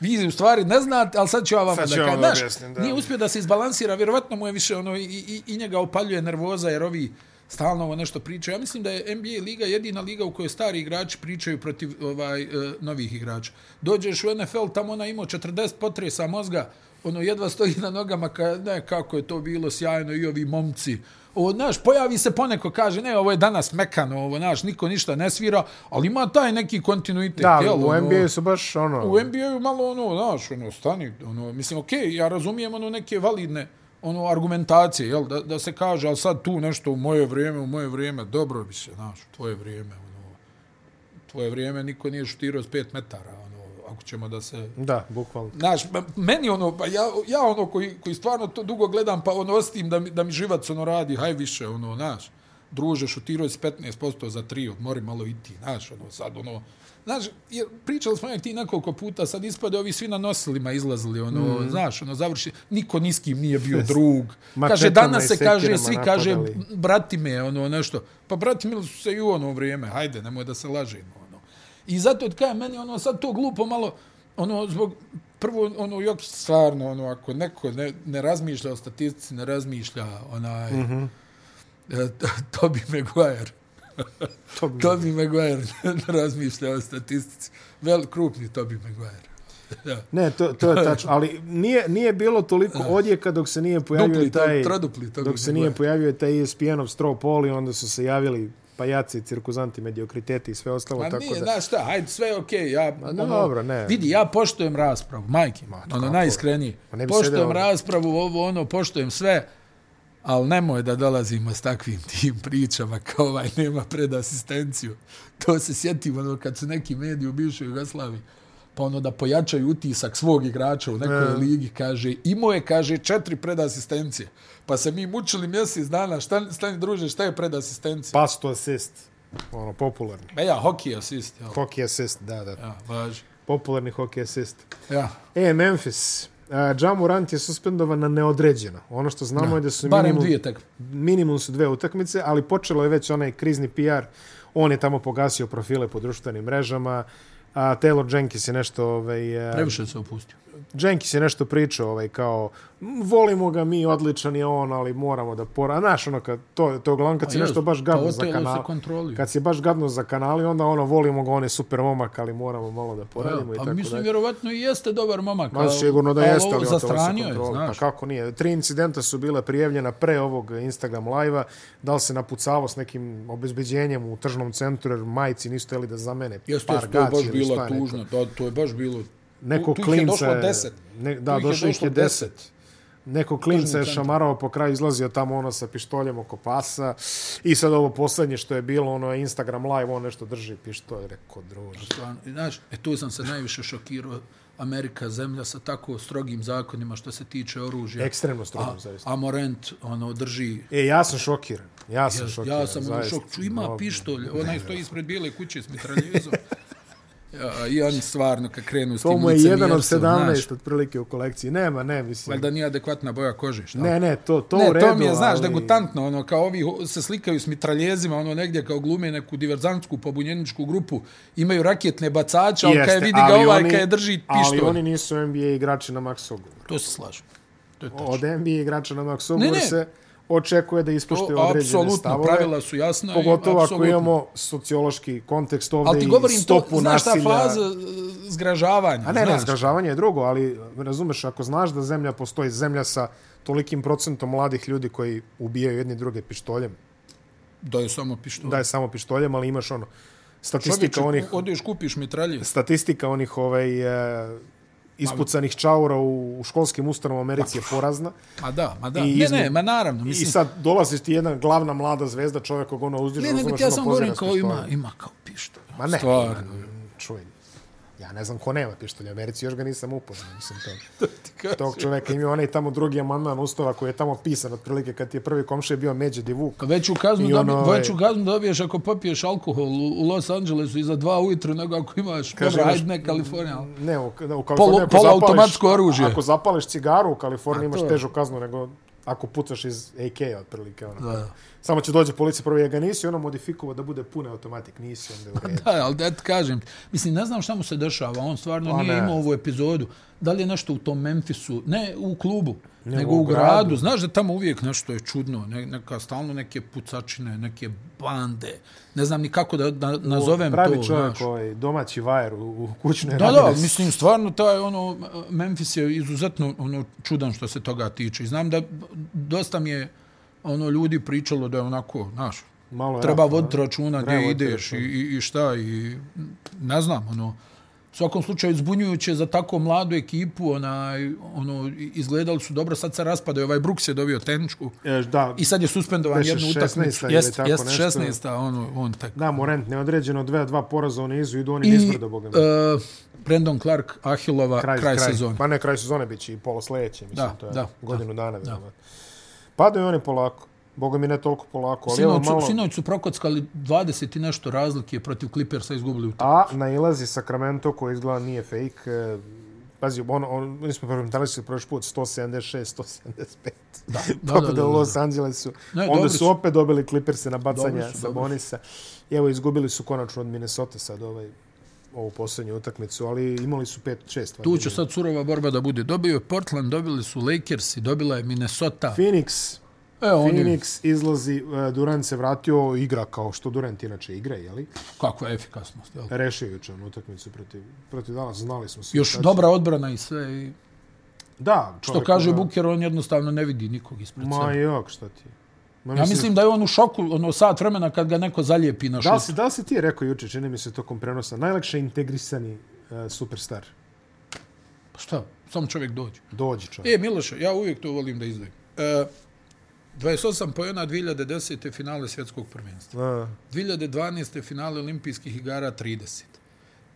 Speaker 2: Vi u stvari ne znate, ali sad ću ja vama
Speaker 1: Sad
Speaker 2: da
Speaker 1: ću ja
Speaker 2: kažem.
Speaker 1: vam da
Speaker 2: Znaš,
Speaker 1: objasnim, da.
Speaker 2: nije uspio da se izbalansira, vjerovatno mu je više ono, i, i, i njega opaljuje nervoza, jer ovi stalno ovo nešto pričaju. Ja mislim da je NBA liga jedina liga u kojoj stari igrači pričaju protiv ovaj e, novih igrača. Dođeš u NFL, tamo ona imao 40 potresa mozga, ono jedva stoji na nogama, ka, ne, kako je to bilo sjajno i ovi momci. O, znaš, pojavi se poneko, kaže, ne, ovo je danas mekano, ovo, znaš, niko ništa ne svira, ali ima taj neki kontinuitet.
Speaker 1: Da,
Speaker 2: jel,
Speaker 1: u
Speaker 2: ono-
Speaker 1: NBA su baš ono...
Speaker 2: u NBA-u malo ono, znaš, ono, stani, ono, mislim, okej, okay, ja razumijem ono neke validne ono argumentacije, jel, da, da se kaže, ali sad tu nešto u moje vrijeme, u moje vrijeme, dobro bi se, znaš, u tvoje vrijeme, ono, u tvoje vrijeme niko nije šutirao s pet metara, ono, ako ćemo da se
Speaker 1: Da, bukvalno.
Speaker 2: Znaš, m- meni ono, pa ja, ja ono koji, koji stvarno to dugo gledam, pa ono ostim da mi, da mi živac ono radi, haj više, ono, znaš, druže, šutirao si 15% za tri, odmori malo i ti, znaš, ono, sad, ono, znaš, jer pričali smo nek ti nekoliko puta, sad ispade ovi svi na nosilima izlazili, ono, mm. znaš, ono, završi, niko ni s kim nije bio drug.
Speaker 1: Mačetama
Speaker 2: kaže, danas
Speaker 1: i
Speaker 2: se kaže,
Speaker 1: sekirama
Speaker 2: svi kaže,
Speaker 1: napadali.
Speaker 2: brati me, ono, nešto. Pa brati mi su se i u ono vrijeme, hajde, nemoj da se lažemo, ono. I zato od kaja meni ono sad to glupo malo ono zbog prvo ono Jokić stvarno ono ako neko ne, ne razmišlja o statistici, ne razmišlja onaj mm -hmm. Tobi Maguire.
Speaker 1: To bi...
Speaker 2: Tobi Maguire ne razmišlja o statistici. Vel krupni Tobi Maguire. Da.
Speaker 1: Ne, to, to je tačno, ali nije, nije bilo toliko odjeka dok se nije pojavio
Speaker 2: Dupli, to-
Speaker 1: taj...
Speaker 2: trodupli Tobi
Speaker 1: dok se nije pojavio taj E ESPN-ov straw poll i onda su se javili pajaci, cirkuzanti, mediokriteti i sve ostalo,
Speaker 2: Ma
Speaker 1: tako
Speaker 2: Pa nije,
Speaker 1: da...
Speaker 2: znaš šta, ajde, sve je okej. Okay, ja,
Speaker 1: Ma
Speaker 2: ono,
Speaker 1: dobro, ne.
Speaker 2: Vidi, ja poštujem raspravu, majke, Ma, ono
Speaker 1: kako?
Speaker 2: najiskrenije.
Speaker 1: Pa ne bi sedeo
Speaker 2: Poštujem
Speaker 1: ovdje.
Speaker 2: raspravu, ovo, ono, poštujem sve, ali nemoj da dolazimo s takvim tim pričama kao ovaj nema pred asistenciju. To se sjetim, ono, kad su neki mediji u bivšoj Jugoslaviji, pa ono da pojačaju utisak svog igrača u nekoj ligi, kaže, imao je, kaže, četiri predasistencije. Pa se mi mučili mjesec dana, šta, stani druže, šta je predasistencija?
Speaker 1: Pass to assist, ono, popularni.
Speaker 2: Pa ja, hokej asist, jel?
Speaker 1: Hockey assist, da, da.
Speaker 2: Ja, važi.
Speaker 1: Popularni hockey assist.
Speaker 2: Ja.
Speaker 1: E, Memphis. Uh, Ja Morant je suspendovan na neodređeno. Ono što znamo je da su
Speaker 2: Barem
Speaker 1: minimum,
Speaker 2: dvije takve.
Speaker 1: minimum su dve utakmice, ali počelo je već onaj krizni PR. On je tamo pogasio profile po društvenim mrežama. A Taylor Jenkins je nešto... Ovaj, e,
Speaker 2: Previše se opustio.
Speaker 1: Jenkins je nešto pričao, ovaj, kao, "M, volimo ga mi, odličan je on, ali moramo da pora... A, Znaš, ono, kad, to, to je uglavnom kad si
Speaker 2: jest,
Speaker 1: nešto baš gadno
Speaker 2: pa
Speaker 1: za
Speaker 2: otelo se
Speaker 1: kanal.
Speaker 2: kontroli.
Speaker 1: Kad si baš gadno za kanali, onda ono, volimo ga, on je super momak, ali moramo malo da poradimo
Speaker 2: Evo,
Speaker 1: i
Speaker 2: pa
Speaker 1: tako
Speaker 2: mislim,
Speaker 1: dalje.
Speaker 2: vjerovatno i jeste dobar momak.
Speaker 1: Ma
Speaker 2: al-
Speaker 1: sigurno da jeste,
Speaker 2: ovo
Speaker 1: ali otelo se
Speaker 2: zastranio je,
Speaker 1: kontroli.
Speaker 2: znaš.
Speaker 1: Pa kako nije? Tri incidenta su bile prijavljena pre ovog Instagram live-a. Da li se napucavao s nekim obezbeđenjem u tržnom centru, jer majci nisu teli da zamene
Speaker 2: Jeste,
Speaker 1: par
Speaker 2: jeste, to je
Speaker 1: gaća
Speaker 2: baš
Speaker 1: ili šta
Speaker 2: bila
Speaker 1: je neko.
Speaker 2: tužno. Da, to je baš bilo...
Speaker 1: Neko
Speaker 2: tu, tu ih je
Speaker 1: klinca...
Speaker 2: došlo
Speaker 1: je-
Speaker 2: deset.
Speaker 1: Ne,
Speaker 2: Tu
Speaker 1: da,
Speaker 2: ih je
Speaker 1: došlo ih je
Speaker 2: došlo
Speaker 1: deset. Neko klinca je
Speaker 2: centru.
Speaker 1: šamarao po kraju, izlazio tamo ono sa pištoljem oko pasa i sad ovo posljednje što je bilo, ono Instagram live, on nešto drži pištolj, rekao druže.
Speaker 2: Stvarno, i Znaš, e, tu sam se najviše šokirao. Amerika, zemlja sa tako strogim zakonima što se tiče oružja.
Speaker 1: Ekstremno strugom, zaista.
Speaker 2: A Morent, ono, drži...
Speaker 1: E, ja sam šokiran. Ja sam šokiran,
Speaker 2: Ja sam u
Speaker 1: zaista.
Speaker 2: šok, ču, ima
Speaker 1: Dobro.
Speaker 2: pištolj, onaj stoji ispred bijele kuće s mitraljezom. Ja, I on stvarno, kad krenu s tim
Speaker 1: To mu je jedan od
Speaker 2: licemjerstvom, znaš,
Speaker 1: 17 otprilike u kolekciji. Nema, ne, mislim.
Speaker 2: Valjda nije adekvatna boja kože, šta?
Speaker 1: Ne, ne, to, to u
Speaker 2: ne,
Speaker 1: redu,
Speaker 2: to mi je, znaš,
Speaker 1: ali...
Speaker 2: degutantno, ono, kao ovi ho- se slikaju s mitraljezima, ono, negdje kao glume neku diverzantsku pobunjeničku grupu, imaju raketne bacače, ali kada je vidi ga
Speaker 1: ali
Speaker 2: ovaj,
Speaker 1: oni-
Speaker 2: kada je drži
Speaker 1: Ali
Speaker 2: pištolj.
Speaker 1: oni nisu NBA igrači na maks ugovor.
Speaker 2: To se slažem. To je tačno.
Speaker 1: Od NBA igrača na maks
Speaker 2: znači. Ne,
Speaker 1: ugovor
Speaker 2: ne.
Speaker 1: se očekuje da ispoštuje
Speaker 2: To,
Speaker 1: određene stavove.
Speaker 2: apsolutno, pravila su jasna. i
Speaker 1: Pogotovo ako
Speaker 2: apsolutno.
Speaker 1: imamo sociološki kontekst ovde
Speaker 2: Ali ti
Speaker 1: i
Speaker 2: govorim to,
Speaker 1: stopu
Speaker 2: znaš ta
Speaker 1: nasilja.
Speaker 2: faza e, zgražavanja,
Speaker 1: A ne, ne,
Speaker 2: znaš.
Speaker 1: zgražavanje je drugo, ali razumeš, ako znaš da zemlja postoji, zemlja sa tolikim procentom mladih ljudi koji ubijaju jedni druge pištoljem,
Speaker 2: Da je samo pištolj.
Speaker 1: da je samo pištoljem, ali imaš ono,
Speaker 2: Čovječe,
Speaker 1: statistika onih,
Speaker 2: odeš kupiš mitralje.
Speaker 1: statistika onih ovaj, e, ispucanih čaura u, u školskim ustanovama u Americi je porazna.
Speaker 2: Ma da, ma da.
Speaker 1: I
Speaker 2: Ne, ne,
Speaker 1: izme-
Speaker 2: ma naravno.
Speaker 1: I
Speaker 2: Mislim,
Speaker 1: sad dolaziš ti jedan glavna mlada zvezda, čovjek koga ono uzdiže,
Speaker 2: ne, nego
Speaker 1: razumeš,
Speaker 2: ti ja sam
Speaker 1: ono
Speaker 2: govorim
Speaker 1: pozira s
Speaker 2: kao ima,
Speaker 1: pištoljem.
Speaker 2: ima kao pištolj.
Speaker 1: Ma ne, ono,
Speaker 2: Stvarno.
Speaker 1: čuj, ja ne znam ko nema pištolja u Americi, još ga nisam upoznao, mislim to.
Speaker 2: Ti kažem.
Speaker 1: tog čoveka ima onaj tamo drugi amandman ustava koji je tamo pisan otprilike kad ti je prvi komšija bio Međe Divuk.
Speaker 2: Ka Veću kaznu,
Speaker 1: I
Speaker 2: dobi,
Speaker 1: ono, ovaj-
Speaker 2: veću kaznu dobiješ ako popiješ alkohol u, u Los Angelesu i za dva ujutru nego ako imaš
Speaker 1: Kaže,
Speaker 2: dobra,
Speaker 1: imaš-
Speaker 2: ajde ne Kalifornija. ali-
Speaker 1: Ne, u, da, u Kaliforniji ako
Speaker 2: poluautomatsko
Speaker 1: zapališ-
Speaker 2: oružje.
Speaker 1: Ako zapališ cigaru u Kaliforniji imaš
Speaker 2: je.
Speaker 1: težu kaznu nego ako pucaš iz AK-a otprilike. Ono.
Speaker 2: Da.
Speaker 1: Samo će dođe policija prvi, ja ga nisi ono modifikovao da bude pune automatik, nisi onda
Speaker 2: Pa
Speaker 1: u redu.
Speaker 2: Da, ali da ti kažem, mislim, ne znam šta mu se dešava, on stvarno
Speaker 1: Pa
Speaker 2: nije
Speaker 1: ne.
Speaker 2: imao ovu epizodu. Da li je nešto u tom Memphisu, ne u klubu, nego,
Speaker 1: u
Speaker 2: u gradu.
Speaker 1: gradu.
Speaker 2: Znaš da tamo uvijek nešto je čudno, ne, neka, stalno neke pucačine, neke bande, ne znam ni kako da, da nazovem
Speaker 1: Pravi
Speaker 2: to.
Speaker 1: čovjek
Speaker 2: znaš.
Speaker 1: ovaj, domaći vajer u, u kućnoj
Speaker 2: Da, da,
Speaker 1: ramirez.
Speaker 2: mislim, stvarno, taj, ono, Memphis je izuzetno ono, čudan što se toga tiče. I znam da dosta mi je ono ljudi pričalo da je onako, znaš,
Speaker 1: Malo je ono.
Speaker 2: treba
Speaker 1: ratno,
Speaker 2: voditi
Speaker 1: ne?
Speaker 2: računa
Speaker 1: Pa Treba
Speaker 2: gdje
Speaker 1: voditi
Speaker 2: ideš i, i, i šta i ne znam, ono, u svakom slučaju zbunjujuće za tako mladu ekipu, onaj, ono, izgledali su dobro, sad se raspadaju, ovaj Brooks je dobio tehničku
Speaker 1: E, da,
Speaker 2: i sad je suspendovan
Speaker 1: Beše
Speaker 2: jednu
Speaker 1: 16.
Speaker 2: utakmicu.
Speaker 1: ili
Speaker 2: Jest,
Speaker 1: tako
Speaker 2: jest
Speaker 1: nešto.
Speaker 2: 16. Ono, on tak.
Speaker 1: da, Morent neodređeno, dve, dva poraza u nizu, idu oni
Speaker 2: I
Speaker 1: nizbrdo, boga mi.
Speaker 2: uh, Brandon Clark, Ahilova, kraj, kraj, sezone.
Speaker 1: Pa ne, kraj sezone bit će i polo sledeće, mislim,
Speaker 2: Da,
Speaker 1: to je
Speaker 2: da,
Speaker 1: godinu dana. Da. Padaju oni polako. Boga mi ne toliko polako, ali evo
Speaker 2: Sinoć,
Speaker 1: malo...
Speaker 2: su, sinoć su prokockali 20 i nešto razlike protiv Clippersa izgubili u
Speaker 1: A nailazi Sacramento koji izgleda nije fake. e, Pazi, on, on, mi smo prekomentali su prošli put 176, 175. Da,
Speaker 2: da,
Speaker 1: Pobjeda
Speaker 2: da, da,
Speaker 1: u
Speaker 2: da.
Speaker 1: Los Angelesu.
Speaker 2: Ne,
Speaker 1: Onda
Speaker 2: dobri
Speaker 1: su
Speaker 2: su.
Speaker 1: opet dobili Clipperse na bacanja
Speaker 2: Dobri su, dobri
Speaker 1: Sabonisa. I evo, izgubili su konačno od Minnesota sad ovaj, ovu posljednju utakmicu, ali imali su 5-6.
Speaker 2: Tu će sad surova borba da bude. Dobio je Portland, dobili su Lakersi, dobila je Minnesota.
Speaker 1: Phoenix,
Speaker 2: E, oni,
Speaker 1: Phoenix izlazi, e, Durant se vratio, igra kao što Durant inače igra, jeli?
Speaker 2: kakva je efikasnost. Jel?
Speaker 1: Rešio je juče onu utakmicu protiv, protiv Dallas, znali smo se.
Speaker 2: Još
Speaker 1: Sad-
Speaker 2: dobra odbrana i sve. I,
Speaker 1: Da,
Speaker 2: što
Speaker 1: čovjek,
Speaker 2: kaže
Speaker 1: ono,
Speaker 2: Buker, on jednostavno ne vidi nikog ispred
Speaker 1: Ma
Speaker 2: sebe.
Speaker 1: jok, šta ti? je? Ma,
Speaker 2: Ja mislim da je on u šoku, ono sat vremena kad ga neko zalijepi na
Speaker 1: da li,
Speaker 2: šut.
Speaker 1: si, da li si ti rekao juče, čini mi se tokom prenosa, najlakše integrisani e, superstar?
Speaker 2: Pa Šta? Sam čovjek dođe.
Speaker 1: Dođi čovjek.
Speaker 2: E, Miloše, ja uvijek to volim da izdvojim. E, 28 pojena 2010. finale svjetskog prvenstva.
Speaker 1: A,
Speaker 2: 2012. finale olimpijskih igara 30.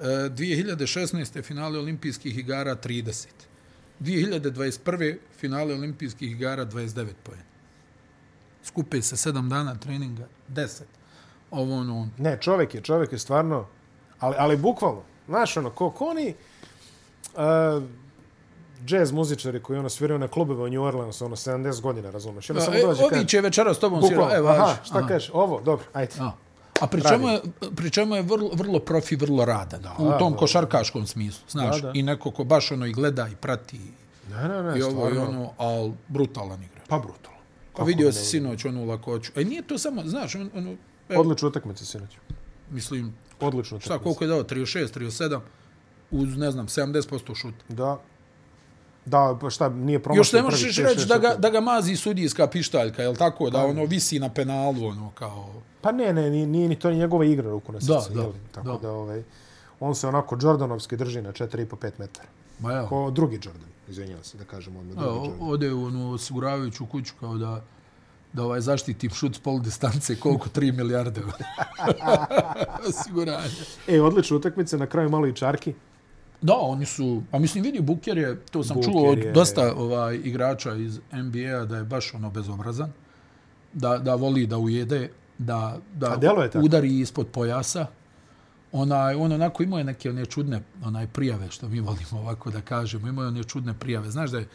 Speaker 2: E, 2016. finale olimpijskih igara 30. 2021. finale olimpijskih igara 29 poena. Skupe se 7 dana treninga, 10. Ovo ono, ono.
Speaker 1: ne, čovjek je, čovjek je stvarno, ali, ali bukvalno, znaš ono, ko, ko oni e, jazz muzičari koji ono sviraju na klubeve u New Orleansu, ono 70 godina, razumeš? Ono, samo
Speaker 2: E,
Speaker 1: dođe,
Speaker 2: ovi će večera s tobom
Speaker 1: Bukvalno,
Speaker 2: svirati. E,
Speaker 1: aha,
Speaker 2: važi.
Speaker 1: šta kažeš? Ovo, dobro, ajde.
Speaker 2: A, A pri čemu je, pri čemu je vrlo, vrlo profi, vrlo radan. Da, u tom
Speaker 1: da.
Speaker 2: košarkaškom smislu, znaš.
Speaker 1: Da,
Speaker 2: Da,
Speaker 1: da.
Speaker 2: da. I neko ko baš ono i gleda i prati
Speaker 1: Ne, ne, ne,
Speaker 2: i ovo i
Speaker 1: stvarno.
Speaker 2: ono, ali brutalan igra.
Speaker 1: Pa brutalno.
Speaker 2: Pa vidio si sinoć onu lakoću. E nije to samo, znaš, on, ono, evo,
Speaker 1: Odlična utakmica sinoć.
Speaker 2: mislim,
Speaker 1: Odlična utakmica.
Speaker 2: šta, koliko je dao, 36, 37, uz, ne znam, 70% šuta.
Speaker 1: Da. Da, pa šta, nije promašio.
Speaker 2: Još ne
Speaker 1: prvih
Speaker 2: možeš
Speaker 1: šest, Pa-
Speaker 2: reći
Speaker 1: šest,
Speaker 2: da ga,
Speaker 1: šest.
Speaker 2: da ga mazi sudijska pištaljka, jel tako? Da ono visi na penalu, ono kao...
Speaker 1: Pa ne, ne, nije, nije ni to ni njegova igra ruku na
Speaker 2: Da,
Speaker 1: srcu.
Speaker 2: da,
Speaker 1: jel? Tako da.
Speaker 2: da.
Speaker 1: ovaj, on se onako Jordanovski drži na 4,5-5 metara.
Speaker 2: Ma ja,
Speaker 1: Ko drugi Jordan, izvinjavam se da kažem odmah. Drugi
Speaker 2: o-
Speaker 1: Jordan.
Speaker 2: ode u onu osiguravajuću kuću kao da da ovaj zaštiti šut s pol distance koliko 3 milijarde osiguranje.
Speaker 1: E, odlična utakmica, na kraju malo i čarki.
Speaker 2: Da, oni su, a mislim vidi Buker je, to sam
Speaker 1: Booker
Speaker 2: čuo od
Speaker 1: je-
Speaker 2: dosta ovaj igrača iz NBA da je baš ono bezobrazan, da, da voli da ujede, da, da
Speaker 1: A deluje tako.
Speaker 2: udari ispod pojasa. Onaj, on onako imao je neke one čudne onaj prijave, što mi volimo ovako da kažemo, imao je one čudne prijave. Znaš da je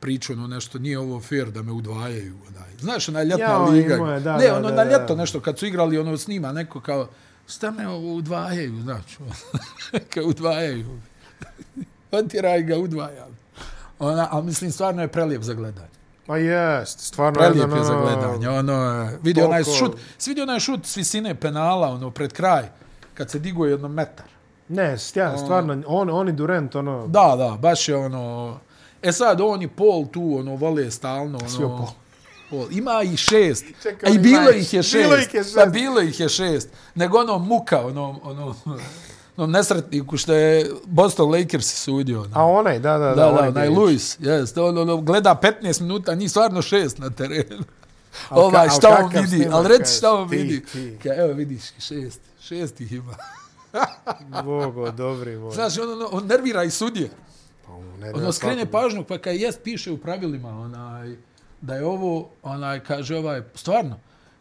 Speaker 2: pričao ono nešto, nije ovo fair da me udvajaju. Onaj. Znaš, onaj ljetna
Speaker 1: Jao,
Speaker 2: liga.
Speaker 1: imao je, da,
Speaker 2: ne,
Speaker 1: da,
Speaker 2: ono
Speaker 1: da,
Speaker 2: na
Speaker 1: da.
Speaker 2: ljeto nešto, kad su igrali, ono snima neko kao, šta me ovo udvajaju, znaš, ono. kao udvajaju. Otiraj ga, udvajam. Ona, a mislim, stvarno je prelijep za gledanje.
Speaker 1: Ma jest, stvarno.
Speaker 2: Prelijep
Speaker 1: jedan,
Speaker 2: je za
Speaker 1: ono,
Speaker 2: gledanje. Ono, vidi onaj
Speaker 1: Toliko-
Speaker 2: šut, svi vidi onaj šut s visine penala, ono, pred kraj, kad se diguje jedno metar.
Speaker 1: Ne, stja, stvarno, on, on i Durant, ono, da.
Speaker 2: Da, da, baš je ono... E sad, on i Paul tu, ono, vole stalno, ono...
Speaker 1: Svi o Paul.
Speaker 2: Paul. Ima ih šest.
Speaker 1: Čekaj,
Speaker 2: Čekaj, I
Speaker 1: ima
Speaker 2: bilo
Speaker 1: ih-
Speaker 2: ih je šest.
Speaker 1: bilo ih je šest.
Speaker 2: Da, bilo ih je šest. Nego ono muka, ono, ono, onom nesretniku što je Boston Lakers sudio. Ono.
Speaker 1: a onaj, da, da, da,
Speaker 2: Da, da,
Speaker 1: onaj
Speaker 2: onaj
Speaker 1: Dilić.
Speaker 2: Luis, jeste, on, ono, gleda 15 minuta, njih stvarno šest na terenu.
Speaker 1: Al ka-
Speaker 2: Ovaj,
Speaker 1: al
Speaker 2: šta on
Speaker 1: kakav
Speaker 2: vidi,
Speaker 1: snimak,
Speaker 2: ali reći
Speaker 1: kažeš,
Speaker 2: šta on
Speaker 1: ti,
Speaker 2: vidi.
Speaker 1: ti.
Speaker 2: Ka, evo vidiš, šest, šest ih ima.
Speaker 1: Bogo, dobri moj.
Speaker 2: Znaš, on, on, on nervira i sudije.
Speaker 1: Pa, ne, ne,
Speaker 2: Ono, skrene
Speaker 1: svakog-
Speaker 2: pažnju, pa kad jest piše u pravilima, onaj, da je ovo, onaj, kaže ovaj, stvarno,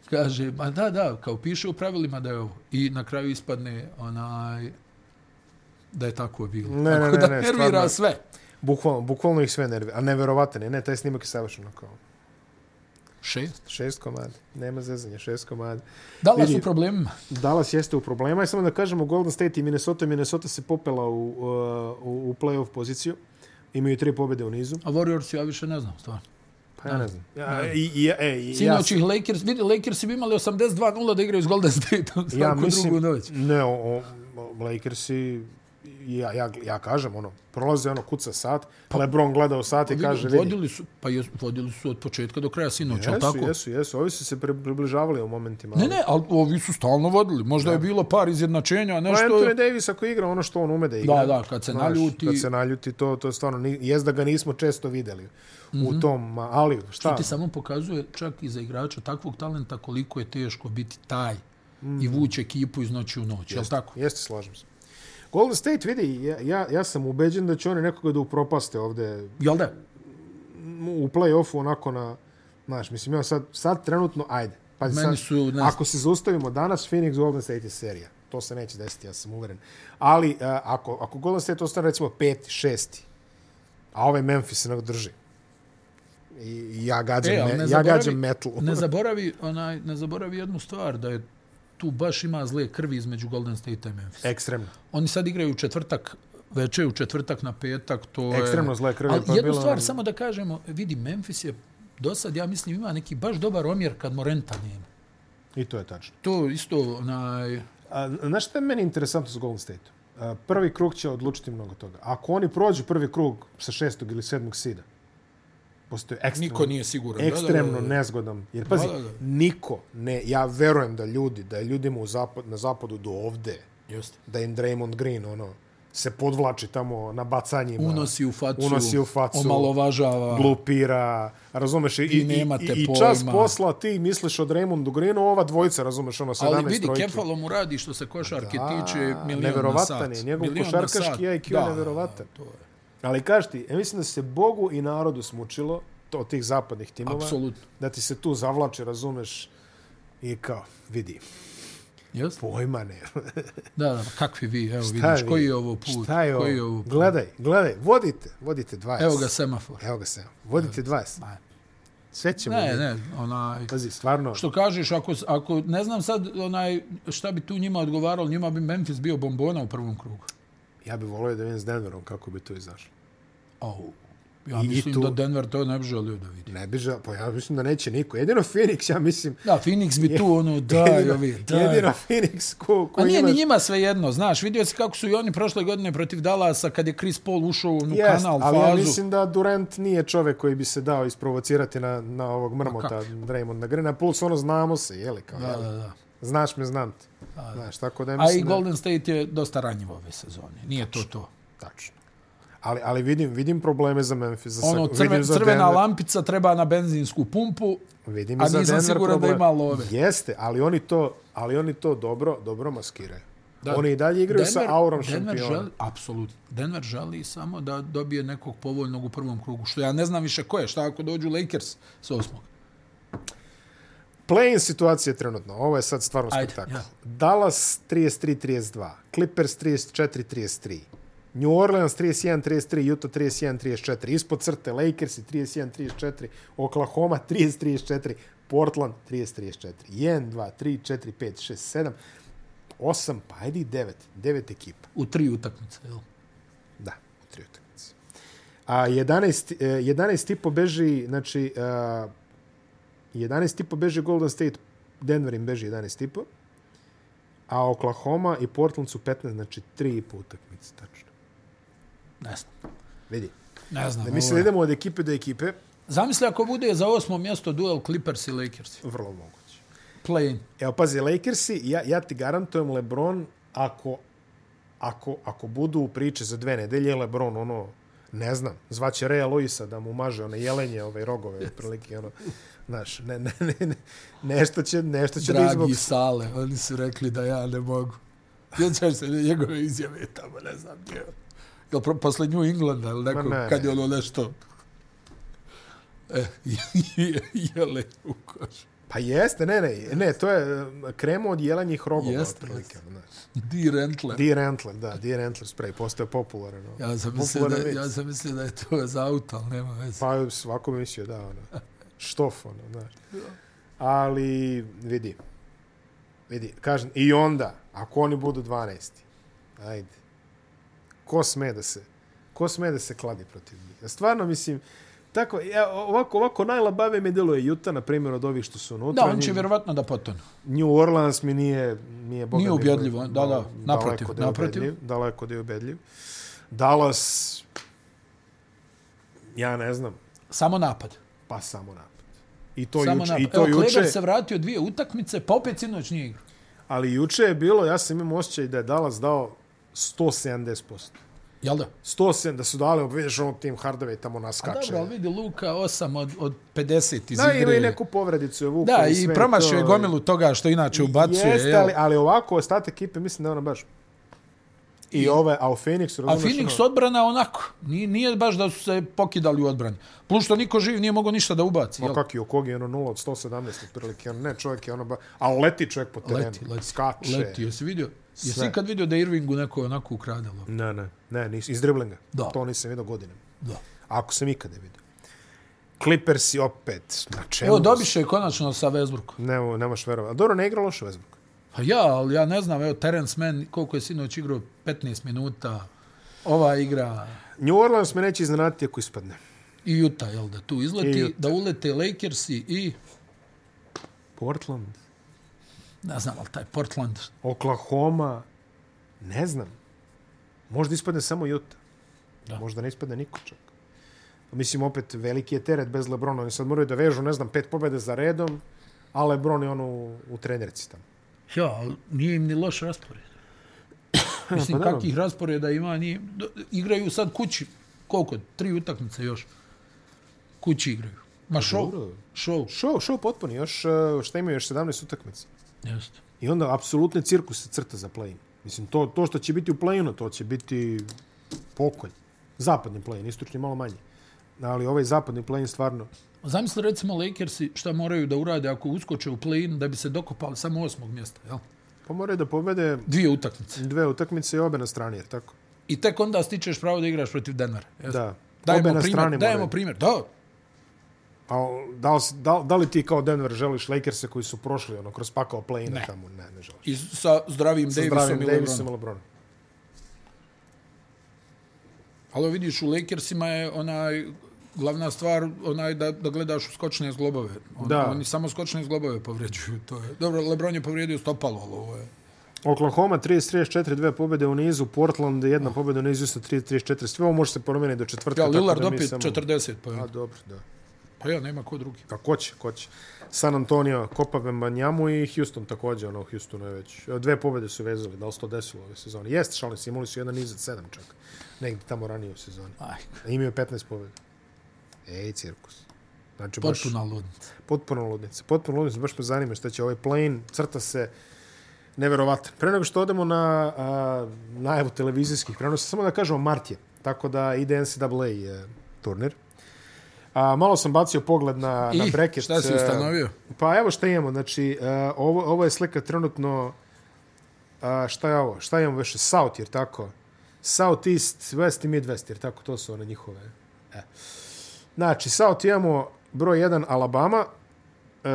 Speaker 2: kaže, ma da, da, kao piše u pravilima da je ovo. I na kraju ispadne, onaj, da je tako bilo.
Speaker 1: Ne, ne,
Speaker 2: tako
Speaker 1: ne,
Speaker 2: da
Speaker 1: ne,
Speaker 2: nervira
Speaker 1: stvarno.
Speaker 2: sve.
Speaker 1: Bukvalno, bukvalno ih sve nervira. A neverovatan je, ne, taj snimak je savršeno kao
Speaker 2: Šest.
Speaker 1: šest komada. Nema zezanja, šest komada.
Speaker 2: Da li
Speaker 1: Vidi.
Speaker 2: su problemima?
Speaker 1: Dallas jeste u problema i samo da kažemo Golden State i Minnesota. Minnesota se popela u, uh, u, u play-off poziciju. Imaju tri pobjede u nizu.
Speaker 2: A Warriors ja više ne znam, stvarno.
Speaker 1: Pa ja ne znam. Ja, i, i, ja, e, i, ja,
Speaker 2: Sinoć ih Lakers, vidi, Lakers bi imali 82-0 da igraju s Golden Stateom
Speaker 1: ja,
Speaker 2: svaku drugu noć.
Speaker 1: Ne, o, o, o Lakersi, ja, ja, ja kažem, ono, prolaze ono kuca sat, pa, Lebron gledao sat i kaže, vidi,
Speaker 2: Vodili su, pa jes, vodili su od početka do kraja sinoć, ali
Speaker 1: jesu,
Speaker 2: tako?
Speaker 1: jesu, jesu, ovi su se pri- približavali u momentima.
Speaker 2: Ne,
Speaker 1: ali-
Speaker 2: ne, ali ovi su stalno vodili. Možda je bilo par izjednačenja,
Speaker 1: Pa
Speaker 2: nešto...
Speaker 1: Anthony
Speaker 2: je-
Speaker 1: Davis ako igra ono što on ume da igra.
Speaker 2: Da, da, kad se naljuti-
Speaker 1: Kad se naljuti, to, to je stvarno, ni- jest da ga nismo često videli mm -hmm. u tom, ma, ali šta?
Speaker 2: Mhm. Ti samo pokazuje čak i za igrača takvog talenta koliko je teško biti taj i vući ekipu iz noći u noć, jel tako?
Speaker 1: Mm. Jeste, slažem se. Golden State, vidi, ja, ja, ja sam ubeđen da će oni nekoga da upropaste ovde
Speaker 2: Jel da?
Speaker 1: u play-offu onako na, znaš, mislim, ja sad, sad trenutno, ajde. Pazi,
Speaker 2: Meni
Speaker 1: sad,
Speaker 2: su, ne-
Speaker 1: Ako se zaustavimo danas, Phoenix Golden State je serija. To se neće desiti, ja sam uveren. Ali uh, ako, ako Golden State ostane recimo peti, šesti, a ovaj Memphis se onako drži, I, i ja gađam,
Speaker 2: E, ali
Speaker 1: me,
Speaker 2: ne
Speaker 1: ja
Speaker 2: zaboravi-
Speaker 1: gađam metlu.
Speaker 2: Ne zaboravi, onaj, ne zaboravi jednu stvar, da je tu baš ima zle krvi između Golden State i Memphis.
Speaker 1: Ekstremno.
Speaker 2: Oni sad igraju u četvrtak večer, u četvrtak na petak, to je...
Speaker 1: Ekstremno zle krvi,
Speaker 2: Ali
Speaker 1: pa je
Speaker 2: jednu
Speaker 1: bilo-
Speaker 2: stvar, samo da kažemo, vidi, Memphis je do sad, ja mislim, ima neki baš dobar omjer kad Morenta nema.
Speaker 1: I to je tačno.
Speaker 2: To isto, onaj...
Speaker 1: A, znaš šta je meni interesantno s Golden State? A, prvi krug će odlučiti mnogo toga. Ako oni prođu prvi krug sa šestog ili sedmog sida, postoje ekstremno...
Speaker 2: Niko nije siguran.
Speaker 1: ekstremno
Speaker 2: da, da, da.
Speaker 1: nezgodan. Jer pazi,
Speaker 2: Da, da, da.
Speaker 1: niko ne, ja verujem da ljudi, da je ljudima u zapad, na zapadu do ovde,
Speaker 2: Jeste.
Speaker 1: da im Draymond Green ono, se podvlači tamo na bacanjima.
Speaker 2: Unosi u facu,
Speaker 1: Unosi u facu.
Speaker 2: omalovažava.
Speaker 1: glupira, razumeš, i, i,
Speaker 2: nemate
Speaker 1: i, i čas
Speaker 2: pojma.
Speaker 1: posla ti misliš o Draymondu Greenu, ova dvojica, razumeš, ono 17
Speaker 2: Ali vidi,
Speaker 1: trojki.
Speaker 2: Kefalo mu radi što se košarke
Speaker 1: Da,
Speaker 2: tiče milion na
Speaker 1: neverovatan
Speaker 2: sat.
Speaker 1: je, njegov
Speaker 2: Milion na
Speaker 1: košarkaški
Speaker 2: sat.
Speaker 1: IQ je
Speaker 2: Da,
Speaker 1: neverovatan.
Speaker 2: To je.
Speaker 1: Ali kaži ti, ja mislim da se Bogu i narodu smučilo to, od tih zapadnih timova,
Speaker 2: Apsolutno.
Speaker 1: da ti se tu zavlači, razumeš, i kao, vidi,
Speaker 2: Jeste?
Speaker 1: pojma nema.
Speaker 2: Da, da, kakvi vi, evo
Speaker 1: Šta
Speaker 2: vidiš,
Speaker 1: vi?
Speaker 2: koji je ovo put?
Speaker 1: Šta je ovo?
Speaker 2: koji je ovo put?
Speaker 1: Gledaj, gledaj, vodite, vodite 20.
Speaker 2: Evo ga semafor.
Speaker 1: Evo ga sam. Vodite 20.
Speaker 2: Ma,
Speaker 1: Sve ćemo.
Speaker 2: Ne,
Speaker 1: mi.
Speaker 2: ne, onaj...
Speaker 1: Pazi, stvarno.
Speaker 2: Što kažeš, ako, ako ne znam sad onaj, šta bi tu njima odgovaralo, njima bi Memphis bio bombona u prvom krugu.
Speaker 1: Ja bih volio da vidim s Denverom kako bi to izašlo.
Speaker 2: Au. Ja
Speaker 1: I
Speaker 2: mislim
Speaker 1: tu-
Speaker 2: da Denver to ne bi želio da vidi.
Speaker 1: Ne bi žao, pa ja mislim da neće niko. Jedino Phoenix, ja mislim.
Speaker 2: Da, Phoenix bi tu ono, daj,
Speaker 1: jedino,
Speaker 2: ovi, daj.
Speaker 1: jedino Phoenix ko, ko
Speaker 2: A nije ni
Speaker 1: imaš-
Speaker 2: njima sve jedno, znaš, vidio si kako su i oni prošle godine protiv Dallasa kad je Chris Paul ušao u onu
Speaker 1: Jest,
Speaker 2: kanal
Speaker 1: ali
Speaker 2: fazu.
Speaker 1: ja mislim da Durant nije čovek koji bi se dao isprovocirati na, na ovog mrmota Draymonda Greena. Puls, ono, znamo se, jeli kao,
Speaker 2: Da,
Speaker 1: jeli.
Speaker 2: da, da.
Speaker 1: Znaš me, znam te. Znaš, tako da ja
Speaker 2: A
Speaker 1: mislim
Speaker 2: i
Speaker 1: da-
Speaker 2: Golden State je dosta ranjiv ove sezone. Nije to to.
Speaker 1: Tačno. Ali, ali vidim, vidim probleme za Memphis. Za
Speaker 2: Ono,
Speaker 1: Sacra-
Speaker 2: crve,
Speaker 1: vidim za
Speaker 2: crvena
Speaker 1: Denver.
Speaker 2: lampica treba na benzinsku pumpu.
Speaker 1: Vidim
Speaker 2: A
Speaker 1: i za
Speaker 2: nisam
Speaker 1: Denver
Speaker 2: siguran da
Speaker 1: problem.
Speaker 2: ima love.
Speaker 1: Jeste, ali oni to, ali oni to dobro, dobro maskiraju.
Speaker 2: Da.
Speaker 1: Da. Oni i dalje igraju sa aurom
Speaker 2: Denver
Speaker 1: šampiona.
Speaker 2: želi, apsolutno. Denver želi samo da dobije nekog povoljnog u prvom krugu, što ja ne znam više ko je. Šta ako dođu Lakers s osmog?
Speaker 1: Play-in situacija trenutno. Ovo je sad stvarno
Speaker 2: Ajde,
Speaker 1: spektakl.
Speaker 2: ja.
Speaker 1: Dallas 33-32, Clippers 34-33, New Orleans 31-33, Utah 31-34, ispod crte Lakers 31-34, Oklahoma 30-34, Portland 30-34. 1, 2, 3, 4, 5, 6, 7, 8, pa ajde i 9. 9 ekipa.
Speaker 2: U tri utakmice, jel?
Speaker 1: Da, u tri utakmice. A 11, eh, 11 i po beži, znači, eh, 11 i po beži Golden State, Denver im beži 11 i po, a Oklahoma i Portland su 15, znači 3 i po utakmice, tačno.
Speaker 2: Ne znam.
Speaker 1: Vidi.
Speaker 2: Ne znam.
Speaker 1: Da
Speaker 2: ovo
Speaker 1: mi
Speaker 2: je-
Speaker 1: se idemo od ekipe do ekipe,
Speaker 2: Zamisli ako bude za osmo mjesto duel Clippers i Lakers.
Speaker 1: vrlo moguće.
Speaker 2: Play-in.
Speaker 1: Evo, pazi, Lakersi, ja, ja ti garantujem LeBron, ako, ako, ako budu u priče za dve nedelje, LeBron, ono, ne znam, zvaće Rea Luisa da mu maže one jelenje, ove rogove, otprilike, ono, znaš, ne, ne, ne, ne, nešto će, nešto će da
Speaker 2: Dragi
Speaker 1: izbog...
Speaker 2: Sale, oni su rekli da ja ne mogu. Sjećaš se njegove izjave tamo, ne znam gdje. Jel pro, posle New Englanda ili neko,
Speaker 1: Ma ne.
Speaker 2: kad je ono nešto... E, je- jele u košu.
Speaker 1: Pa jeste, ne, ne, ne, to je e, kremo od jelenjih rogova,
Speaker 2: Jeste,
Speaker 1: jeste, otprilike,
Speaker 2: jeste.
Speaker 1: ono, znaš.
Speaker 2: Di Rentler.
Speaker 1: Di Rentler, da, Di Rentler spray, postao je popularan. ono.
Speaker 2: Ja sam, mislio da,
Speaker 1: Popularan vic.
Speaker 2: ja sam mislio da je to za auto, ali nema veze.
Speaker 1: Pa svako bi mislio da, ono, štof, ono, znaš. Ali, vidi, vidi, kažem, i onda, ako oni budu 12. Ajde. Ko sme da se, ko sme da se kladi protiv njih? Ja stvarno mislim, tako, ja, ovako, ovako najlabave mi deluje Juta, na primjer, od ovih što su unutra.
Speaker 2: Da, on će
Speaker 1: Njih-
Speaker 2: vjerovatno da potonu.
Speaker 1: New Orleans mi nije nije boga
Speaker 2: Nije
Speaker 1: mi,
Speaker 2: ubjedljivo, da, da,
Speaker 1: daleko
Speaker 2: naprotiv,
Speaker 1: da je
Speaker 2: naprotiv.
Speaker 1: ubedljiv, Daleko da je ubedljiv. Dallas, ja ne znam,
Speaker 2: Samo napad.
Speaker 1: pa samo napad. I to
Speaker 2: Samo
Speaker 1: juče,
Speaker 2: napad.
Speaker 1: i to
Speaker 2: Evo,
Speaker 1: juče,
Speaker 2: Kleber se vratio dvije utakmice, pa opet sinoć nije igrao.
Speaker 1: ali juče je bilo, ja sam imao osjećaj da je Dallas dao 170%.
Speaker 2: Jel da?
Speaker 1: 107 da su dali, vidiš ono tim Hardaway tamo
Speaker 2: A
Speaker 1: naskače.
Speaker 2: Dobro, ali vidi Luka 8 od, od 50 iz
Speaker 1: da,
Speaker 2: igre.
Speaker 1: ima i neku povredicu je vukao.
Speaker 2: Da, i
Speaker 1: sve
Speaker 2: promašio je
Speaker 1: to.
Speaker 2: gomilu toga što inače ubacuje.
Speaker 1: Jeste,
Speaker 2: jel?
Speaker 1: ali, ali ovako, ostatak ekipe, mislim da je ona baš... I ove, a u Phoenixu,
Speaker 2: A
Speaker 1: razumiješ, ono-
Speaker 2: Phoenix odbrana onako. Nije, nije baš da su se pokidali u odbrani. Plus što niko živ nije mogao ništa da ubaci.
Speaker 1: Ma
Speaker 2: Jel?
Speaker 1: kak je Okogi, ono 0 od 117 otprilike, ono ne, čovjek je ono ba... A leti čovjek po terenu,
Speaker 2: Leti, leti.
Speaker 1: skače.
Speaker 2: Leti, jesi vidio? Jesi
Speaker 1: Sve.
Speaker 2: ikad vidio da je Irvingu neko onako ukradalo?
Speaker 1: Ne, ne, ne, nis, iz driblinga.
Speaker 2: Da.
Speaker 1: To nisam vidio godinama.
Speaker 2: Da.
Speaker 1: Ako sam ikada vidio. Clippers i opet, na čemu?
Speaker 2: Evo, dobiše je konačno sa Westbrookom.
Speaker 1: Ne, nemaš verovati. A Dobro, ne igra loše Westbrook.
Speaker 2: Pa ja, ali ja ne znam, evo, Terence Mann, koliko je sinoć igrao? 15 minuta. Ova igra
Speaker 1: New Orleans me neće iznenaditi ako ispadne.
Speaker 2: i Utah, jel da, tu
Speaker 1: I
Speaker 2: izleti,
Speaker 1: Utah.
Speaker 2: da ulete Lakersi i,
Speaker 1: Portland,
Speaker 2: ne znam, ali taj Portland,
Speaker 1: Oklahoma, ne znam. Možda ispadne samo Utah.
Speaker 2: Da.
Speaker 1: Možda ne ispadne niko čak. Mislim, opet, veliki je teret bez Lebrona. Oni sad moraju da vežu, ne znam, pet pobjede za redom, a Lebron je ono u, u trenerci tamo.
Speaker 2: Ja, ali nije im ni loš raspored. Mislim,
Speaker 1: Pa
Speaker 2: pa
Speaker 1: naravno.
Speaker 2: kakvih rasporeda ima, nije, do- igraju sad kući, koliko, tri utakmice još. Kući igraju. Ma show,
Speaker 1: Pa dobro.
Speaker 2: show.
Speaker 1: Show, show potpuni, još, e, šta imaju, još 17 utakmica.
Speaker 2: Jeste.
Speaker 1: I onda, apsolutni cirkus se crta za play-in. Mislim, to, to što će biti u play-inu, to će biti pokolj. Zapadni play-in, istočni malo manje. Ali ovaj zapadni play-in stvarno...
Speaker 2: Zamisli recimo Lakersi šta moraju da urade ako uskoče u play-in da bi se dokopali samo osmog mjesta, jel?
Speaker 1: Pa moraju da pobede
Speaker 2: Dvije utakmice.
Speaker 1: dve utakmice i obe na strani, jer tako?
Speaker 2: I tek onda stičeš pravo da igraš protiv Denvera. jel?
Speaker 1: Da.
Speaker 2: Dajemo
Speaker 1: Obe na
Speaker 2: primjer,
Speaker 1: strani
Speaker 2: dajemo
Speaker 1: moraju.
Speaker 2: primjer. Da,
Speaker 1: A da li, si- da, da li ti kao Denver želiš Lakerse koji su prošli ono, kroz pakao play-ina tamo? Ne, ne želiš.
Speaker 2: I sa zdravim
Speaker 1: Sa
Speaker 2: Davisom
Speaker 1: zdravim
Speaker 2: i
Speaker 1: Davisom
Speaker 2: Lebronom.
Speaker 1: i Lebronom.
Speaker 2: Ali vidiš, u Lakersima je onaj glavna stvar onaj da, da gledaš u skočne zglobove. On,
Speaker 1: Da.
Speaker 2: Oni samo skočne zglobove povređuju. To je. Dobro, Lebron je povrijedio stopalo, ali ovo je...
Speaker 1: Oklahoma 30-34, dve pobjede u nizu, Portland jedna pobjeda u nizu, isto 30-34. Sve ovo može se promijeniti do četvrtka.
Speaker 2: Oh. Ja,
Speaker 1: E, tako da
Speaker 2: Lillard
Speaker 1: mi
Speaker 2: opet
Speaker 1: samo-
Speaker 2: 40 pojena.
Speaker 1: A, dobro, da.
Speaker 2: Pa ja, nema ko drugi.
Speaker 1: Pa ko će, ko će. San Antonio, Kopa Vembanjamu i Houston također, ono, Houston je već. e, Dve pobjede su vezali, da li se to desilo ove sezone. Jeste, šalim se, imali su jedan niz od sedam čak. Negdje tamo ranije u sezoni.
Speaker 2: Aj,
Speaker 1: A imaju 15 pobjeda. Ej, cirkus. Znači, baš
Speaker 2: potpuna ludnica.
Speaker 1: potpuno ludnica. Potpuno ludnica, baš me zanima šta će ovaj plane, crta se neverovatan. Pre nego što odemo na a, najavu televizijskih prenosa, samo da kažemo mart je, tako da ide NCAA e, turnir. A, malo sam bacio pogled na, na
Speaker 2: I,
Speaker 1: bracket.
Speaker 2: šta si
Speaker 1: e,
Speaker 2: ustanovio?
Speaker 1: Pa evo šta imamo, znači e, ovo, ovo je slika trenutno, a, šta je ovo, šta imamo više, South, jer tako? South, East, West i Midwest, jer tako, to su one njihove. E. Znači, South imamo broj 1 Alabama, e,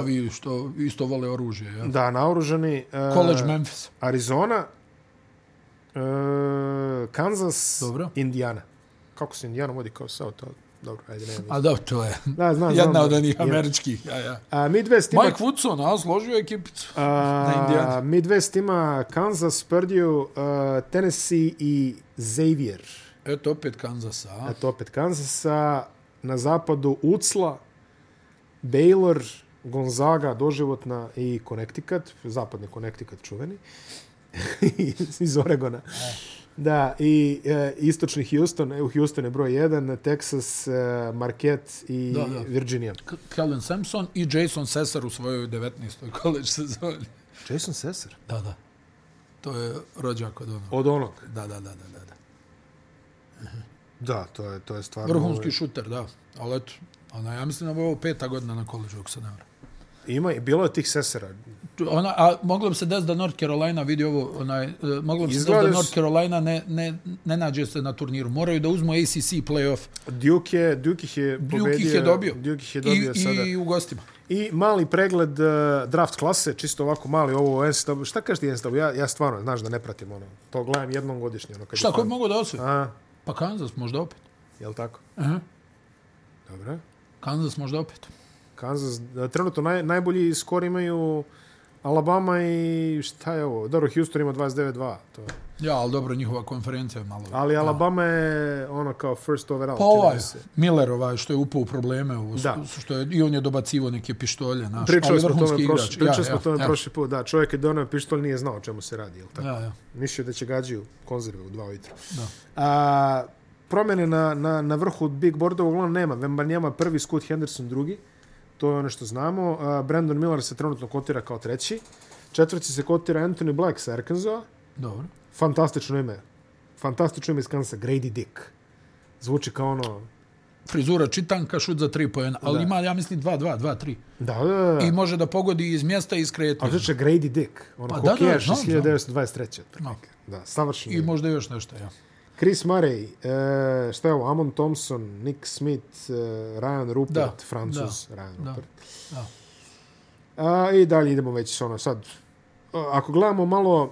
Speaker 2: Ovi što isto vole oružje, ja.
Speaker 1: Da, naoružani. Uh,
Speaker 2: College Memphis.
Speaker 1: Arizona, uh, Kansas,
Speaker 2: Dobro.
Speaker 1: Indiana. Kako se Indiana vodi kao South? ali Dobro, ajde, nema. veze.
Speaker 2: A da, to je
Speaker 1: Da, znam, Pa znam.
Speaker 2: jedna od
Speaker 1: da-
Speaker 2: onih
Speaker 1: je.
Speaker 2: američkih. Ja, ja.
Speaker 1: A, Midwest ima...
Speaker 2: Mike Woodson, a zložio je ekipicu. na
Speaker 1: A,
Speaker 2: Indianu.
Speaker 1: Midwest ima Kansas, Purdue, uh, Tennessee i Xavier.
Speaker 2: Eto, opet Kansas, a?
Speaker 1: Eto opet Kansasa. Na zapadu Ucla, Baylor, Gonzaga, doživotna i Connecticut, zapadni Connecticut čuveni, iz Oregona.
Speaker 2: Eh.
Speaker 1: Da, i e, istočni Houston, e, u Houston je broj 1, Texas, e, Marquette i da,
Speaker 2: Da,
Speaker 1: da.
Speaker 2: da.
Speaker 1: Virginia.
Speaker 2: K- Kellen Sampson i Jason Sesar u svojoj 19. college sezoni.
Speaker 1: Jason Sesar?
Speaker 2: Da, da. To je rođak od onog.
Speaker 1: Od onog.
Speaker 2: Da, da, da, da, da. da.
Speaker 1: Da, to je, to je stvarno...
Speaker 2: Vrhunski šuter, da. Ali eto, ona, ja mislim da mu je ovo peta godina na koleđu, ako se ne varam.
Speaker 1: Ima, bilo je tih Sesara.
Speaker 2: Tu- Ona, a moglo bi se desiti da North Carolina vidi ovo, onaj, e, moglo bi se desiti
Speaker 1: Izgleda
Speaker 2: da
Speaker 1: s-
Speaker 2: North Carolina ne, ne, ne nađe se na turniru. Moraju da uzmu ACC playoff.
Speaker 1: Duke, je, Duke ih je pobedio.
Speaker 2: Duke ih je dobio.
Speaker 1: Duke ih je dobio
Speaker 2: I,
Speaker 1: sada.
Speaker 2: I u gostima.
Speaker 1: I mali pregled uh, draft klase, čisto ovako mali ovo NCAA. Šta kažeš ti NCAA? Ja, ja stvarno, znaš da ne pratim ono. To gledam jednom godišnje. Ono, kad
Speaker 2: Šta,
Speaker 1: je
Speaker 2: ko
Speaker 1: fan.
Speaker 2: bi mogo da osvoji?
Speaker 1: A,
Speaker 2: Pa Kansas možda opet.
Speaker 1: jel tako?
Speaker 2: Aha.
Speaker 1: Dobro.
Speaker 2: Kansas možda opet.
Speaker 1: Kansas, da, trenutno naj, najbolji skor imaju Alabama i šta je ovo? Dobro, Houston ima 29-2. To. je.
Speaker 2: Ja, ali dobro, njihova konferencija je malo...
Speaker 1: Ali Alabama je ono kao first overall.
Speaker 2: Pa
Speaker 1: čini mi
Speaker 2: ovaj,
Speaker 1: se.
Speaker 2: Miller ovaj, što je upao u probleme, ovo,
Speaker 1: Da.
Speaker 2: što je, i on je dobacivo neke pištolje, naš,
Speaker 1: Pričali
Speaker 2: ali
Speaker 1: smo o
Speaker 2: vrhunski
Speaker 1: tome,
Speaker 2: igrač.
Speaker 1: prošli, pričali smo o tome
Speaker 2: ja,
Speaker 1: prošli put. Da, čovjek je donio pištolj, nije znao o čemu se radi. Jel tako?
Speaker 2: Ja, ja.
Speaker 1: Mislio da će gađaju konzerve u dva ujutro.
Speaker 2: Da.
Speaker 1: A, promjene na, na, na vrhu Big Boarda uglavnom nema. Vembanjama prvi, Scott Henderson drugi. To je ono što znamo. A, Brandon Miller se trenutno kotira kao treći. Četvrti se kotira Anthony Black sa Arkansas.
Speaker 2: Dobro.
Speaker 1: Fantastično ime. Fantastično ime iz Kansa. Grady Dick. Zvuči kao ono...
Speaker 2: Frizura čitanka, šut za tri pojena, ali
Speaker 1: Da.
Speaker 2: ima, ja mislim, 2-2, 2-3.
Speaker 1: Da, da, da. da.
Speaker 2: I može da pogodi iz mjesta i
Speaker 1: A
Speaker 2: skretno.
Speaker 1: zvuči Grady Dick. Ono,
Speaker 2: Pa
Speaker 1: pa,
Speaker 2: da, da,
Speaker 1: kokijaš
Speaker 2: znam,
Speaker 1: iz
Speaker 2: znam.
Speaker 1: 1923. Da, savršeno.
Speaker 2: I
Speaker 1: ime.
Speaker 2: možda još nešto, ja.
Speaker 1: Chris Murray, e, šta je ovo, Amon Thompson, Nick Smith, e, Ryan Rupert,
Speaker 2: Da,
Speaker 1: Francus, da, Ryan
Speaker 2: da,
Speaker 1: Rupert.
Speaker 2: da.
Speaker 1: A, I dalje idemo već s ono, sad, a, ako gledamo malo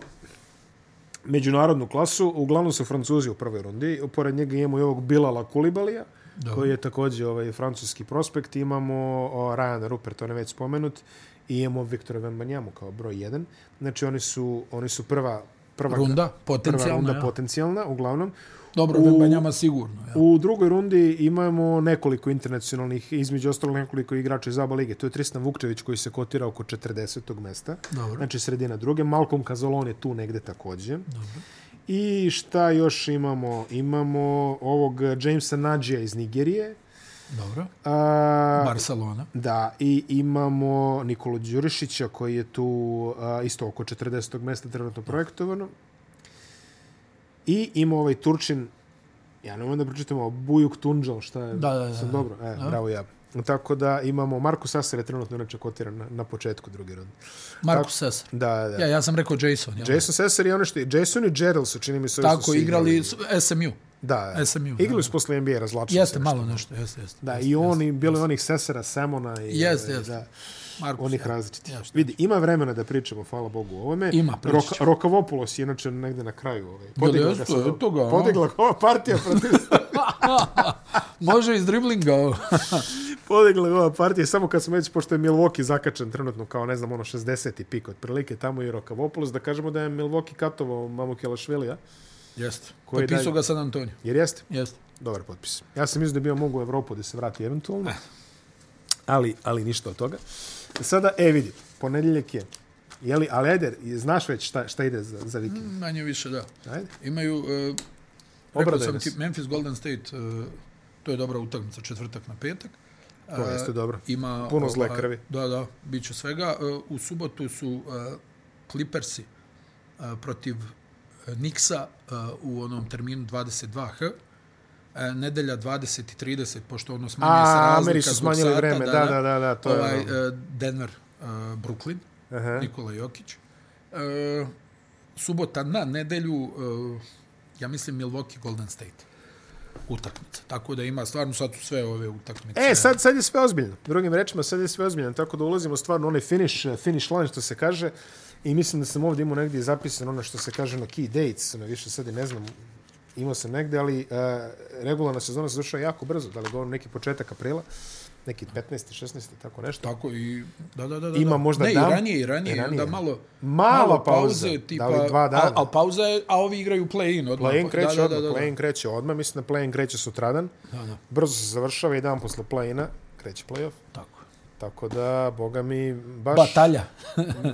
Speaker 1: međunarodnu klasu, uglavnom su Francuzi u prvoj rundi, pored njega imamo i ovog Bilala Kulibalija,
Speaker 2: Dobro.
Speaker 1: koji je također ovaj, francuski prospekt, imamo o, Ryan Rupert, on je već spomenut, i imamo Viktora Vembanjamu kao broj 1. Znači oni su, oni su prva, prva,
Speaker 2: Runda,
Speaker 1: prva
Speaker 2: potencijalna,
Speaker 1: runda
Speaker 2: ja.
Speaker 1: potencijalna, uglavnom.
Speaker 2: Dobro,
Speaker 1: u-
Speaker 2: Vembanjama sigurno, ja.
Speaker 1: U drugoj rundi imamo nekoliko internacionalnih, između ostalog nekoliko igrača iz ABA lige. To je Tristan Vukčević koji se kotira oko 40. mesta.
Speaker 2: Dobro.
Speaker 1: Znači sredina druge. Malcolm Kazolon je tu negde takođe. Dobro. I šta još imamo? Imamo ovog Jamesa Nadžija iz Nigerije.
Speaker 2: Dobro.
Speaker 1: A,
Speaker 2: Barcelona.
Speaker 1: Da, i imamo Nikolu Đurišića koji je tu a, isto oko 40. mesta trenutno projektovano. I ima ovaj Turčin, ja ne mogu da pročitam ovo, Bujuk Tunđal, šta je?
Speaker 2: Da, da, da,
Speaker 1: Sam
Speaker 2: da.
Speaker 1: dobro, e, bravo ja. Tako da imamo, Marko Sasar je trenutno inače kotiran na, na početku druge runde.
Speaker 2: Marko Sesar.
Speaker 1: Da, da.
Speaker 2: Ja, ja sam rekao Jason, ja.
Speaker 1: Jason Sesar i ono što je, Jason i Gerald su čini mi se ovi su
Speaker 2: Tako,
Speaker 1: svi
Speaker 2: igrali s- SMU.
Speaker 1: Da,
Speaker 2: SMU, da.
Speaker 1: igrali su posle NBA razlačili.
Speaker 2: Jeste malo nešto, jeste, jeste.
Speaker 1: Da,
Speaker 2: jeste,
Speaker 1: i oni, bilo je onih Sesera, Semona i
Speaker 2: Jeste,
Speaker 1: ovaj,
Speaker 2: jeste.
Speaker 1: Da,
Speaker 2: Markus,
Speaker 1: onih
Speaker 2: ja.
Speaker 1: različitih.
Speaker 2: Ja, šta
Speaker 1: Vidi, ima vremena da pričamo, hvala Bogu, o ovome.
Speaker 2: Ima, pričat ćemo.
Speaker 1: Rokavopulos je inače negde na kraju. Ovaj. Podigla
Speaker 2: jeste,
Speaker 1: ga sad,
Speaker 2: eto ga, a?
Speaker 1: podigla ga ova partija protiv...
Speaker 2: Može iz driblinga ovo.
Speaker 1: podigla ga ova partija, samo kad smo već, pošto je Milwaukee zakačen trenutno kao, ne znam, ono 60. pik otprilike, tamo je Rokavopulos, da kažemo da je Milwaukee katovao Mamu Kjelašvilija,
Speaker 2: Jeste.
Speaker 1: Koji
Speaker 2: Potpisao
Speaker 1: dalje?
Speaker 2: ga San Antonio.
Speaker 1: jer jeste
Speaker 2: Jeste.
Speaker 1: dobar potpis. Ja sam mislio da bi on mogu u Evropu da se vrati
Speaker 2: Eh.
Speaker 1: eventualno, ali, ali ništa od toga. Sada, e vidi, ponedjeljak je, jeli, ali ajde, znaš već šta, šta ide za, za vikend.
Speaker 2: Manje više, da.
Speaker 1: Ajde.
Speaker 2: Imaju, uh, rekao
Speaker 1: Obradaj
Speaker 2: sam
Speaker 1: nas.
Speaker 2: ti, Memphis Golden State, uh, to je dobra utakmica, četvrtak na petak. E,
Speaker 1: To jeste dobro.
Speaker 2: Ima,
Speaker 1: Puno zle
Speaker 2: ovaj,
Speaker 1: krvi.
Speaker 2: Da, da, bit će svega. Uh, u subotu su uh, Clippersi uh, protiv uh, Nixa uh, u onom terminu 22H. E, nedelja 20 i 30, pošto ono smanjuje se
Speaker 1: A,
Speaker 2: razlika.
Speaker 1: Ameri su
Speaker 2: zbog
Speaker 1: smanjili
Speaker 2: sata,
Speaker 1: vreme, da, da, da, da, to je
Speaker 2: ovaj,
Speaker 1: ono.
Speaker 2: e, Denver, uh, Brooklyn,
Speaker 1: Aha.
Speaker 2: Nikola Jokić. E, subota na nedelju, e, ja mislim Milwaukee Golden State utakmica. Tako da ima stvarno sad su sve ove utakmice.
Speaker 1: E, sad, sad je sve ozbiljno. Drugim rečima, sad je sve ozbiljno, tako da ulazimo stvarno u onaj finish, eh, finish line, što se kaže, i mislim da sam ovdje imao negdje zapisano ono što se kaže na key dates, ono više sad i ne znam, imao sam negdje, ali uh, regularna sezona se došla jako brzo, da li govorim neki početak aprila, neki 15. 16. tako nešto.
Speaker 2: Tako i da da da da.
Speaker 1: Ima
Speaker 2: da.
Speaker 1: možda
Speaker 2: ne,
Speaker 1: dan,
Speaker 2: i ranije i ranije,
Speaker 1: i
Speaker 2: i
Speaker 1: ranije.
Speaker 2: onda malo
Speaker 1: Mala pauza,
Speaker 2: pauze, tipa
Speaker 1: da li dva dana?
Speaker 2: Al, al pauza je, a ovi igraju play-in odmah.
Speaker 1: Play-in kreće
Speaker 2: da, da,
Speaker 1: odmah,
Speaker 2: da, da.
Speaker 1: play-in kreće odmah, mislim da play-in kreće sutradan.
Speaker 2: Da, da,
Speaker 1: Brzo se završava i dan posle play-ina kreće play-off.
Speaker 2: tako.
Speaker 1: Tako da, boga mi, baš,
Speaker 2: Batalja.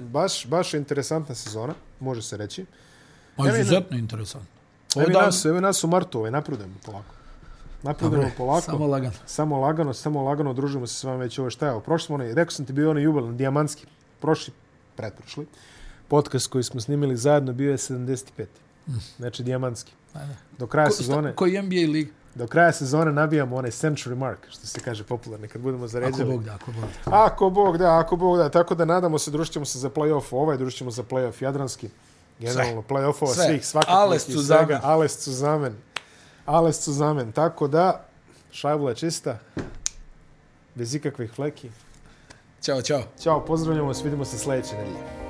Speaker 1: baš, baš interesantna sezona, može se reći.
Speaker 2: Ma, Pa izuzetno interesantno.
Speaker 1: Evo i
Speaker 2: Odan-
Speaker 1: nas, evo i nas u martu, ovaj, napredujemo polako. Napredujemo polako.
Speaker 2: Samo lagano.
Speaker 1: Samo lagano, samo lagano družimo se s vama već ovo šta je. ovo. Prošli smo onaj, rekao sam ti bio onaj jubilan, dijamanski, prošli, pretprošli, podcast koji smo snimili zajedno bio je 75. Znači, dijamanski.
Speaker 2: Mm. Ajde.
Speaker 1: Do kraja
Speaker 2: Ko-
Speaker 1: sezone,
Speaker 2: šta- Koji NBA lig?
Speaker 1: do kraja sezone nabijamo onaj century mark, što se kaže popularno, kad budemo
Speaker 2: Ako
Speaker 1: zaređali.
Speaker 2: Bog da, ako Bog da.
Speaker 1: Ako Bog da, ako Bog da. Tako da nadamo se, društimo se za play-off ovaj, društimo za play-off jadranski. Generalno, play-offova
Speaker 2: Sve.
Speaker 1: svih, svakak
Speaker 2: Ales
Speaker 1: neki,
Speaker 2: su za
Speaker 1: svega.
Speaker 2: men.
Speaker 1: Ales su za men. Ales su za men. Tako da, šajbula je čista, bez ikakvih fleki.
Speaker 2: Ćao, čao.
Speaker 1: Ćao, pozdravljamo vas, vidimo se sljedeće nedelje.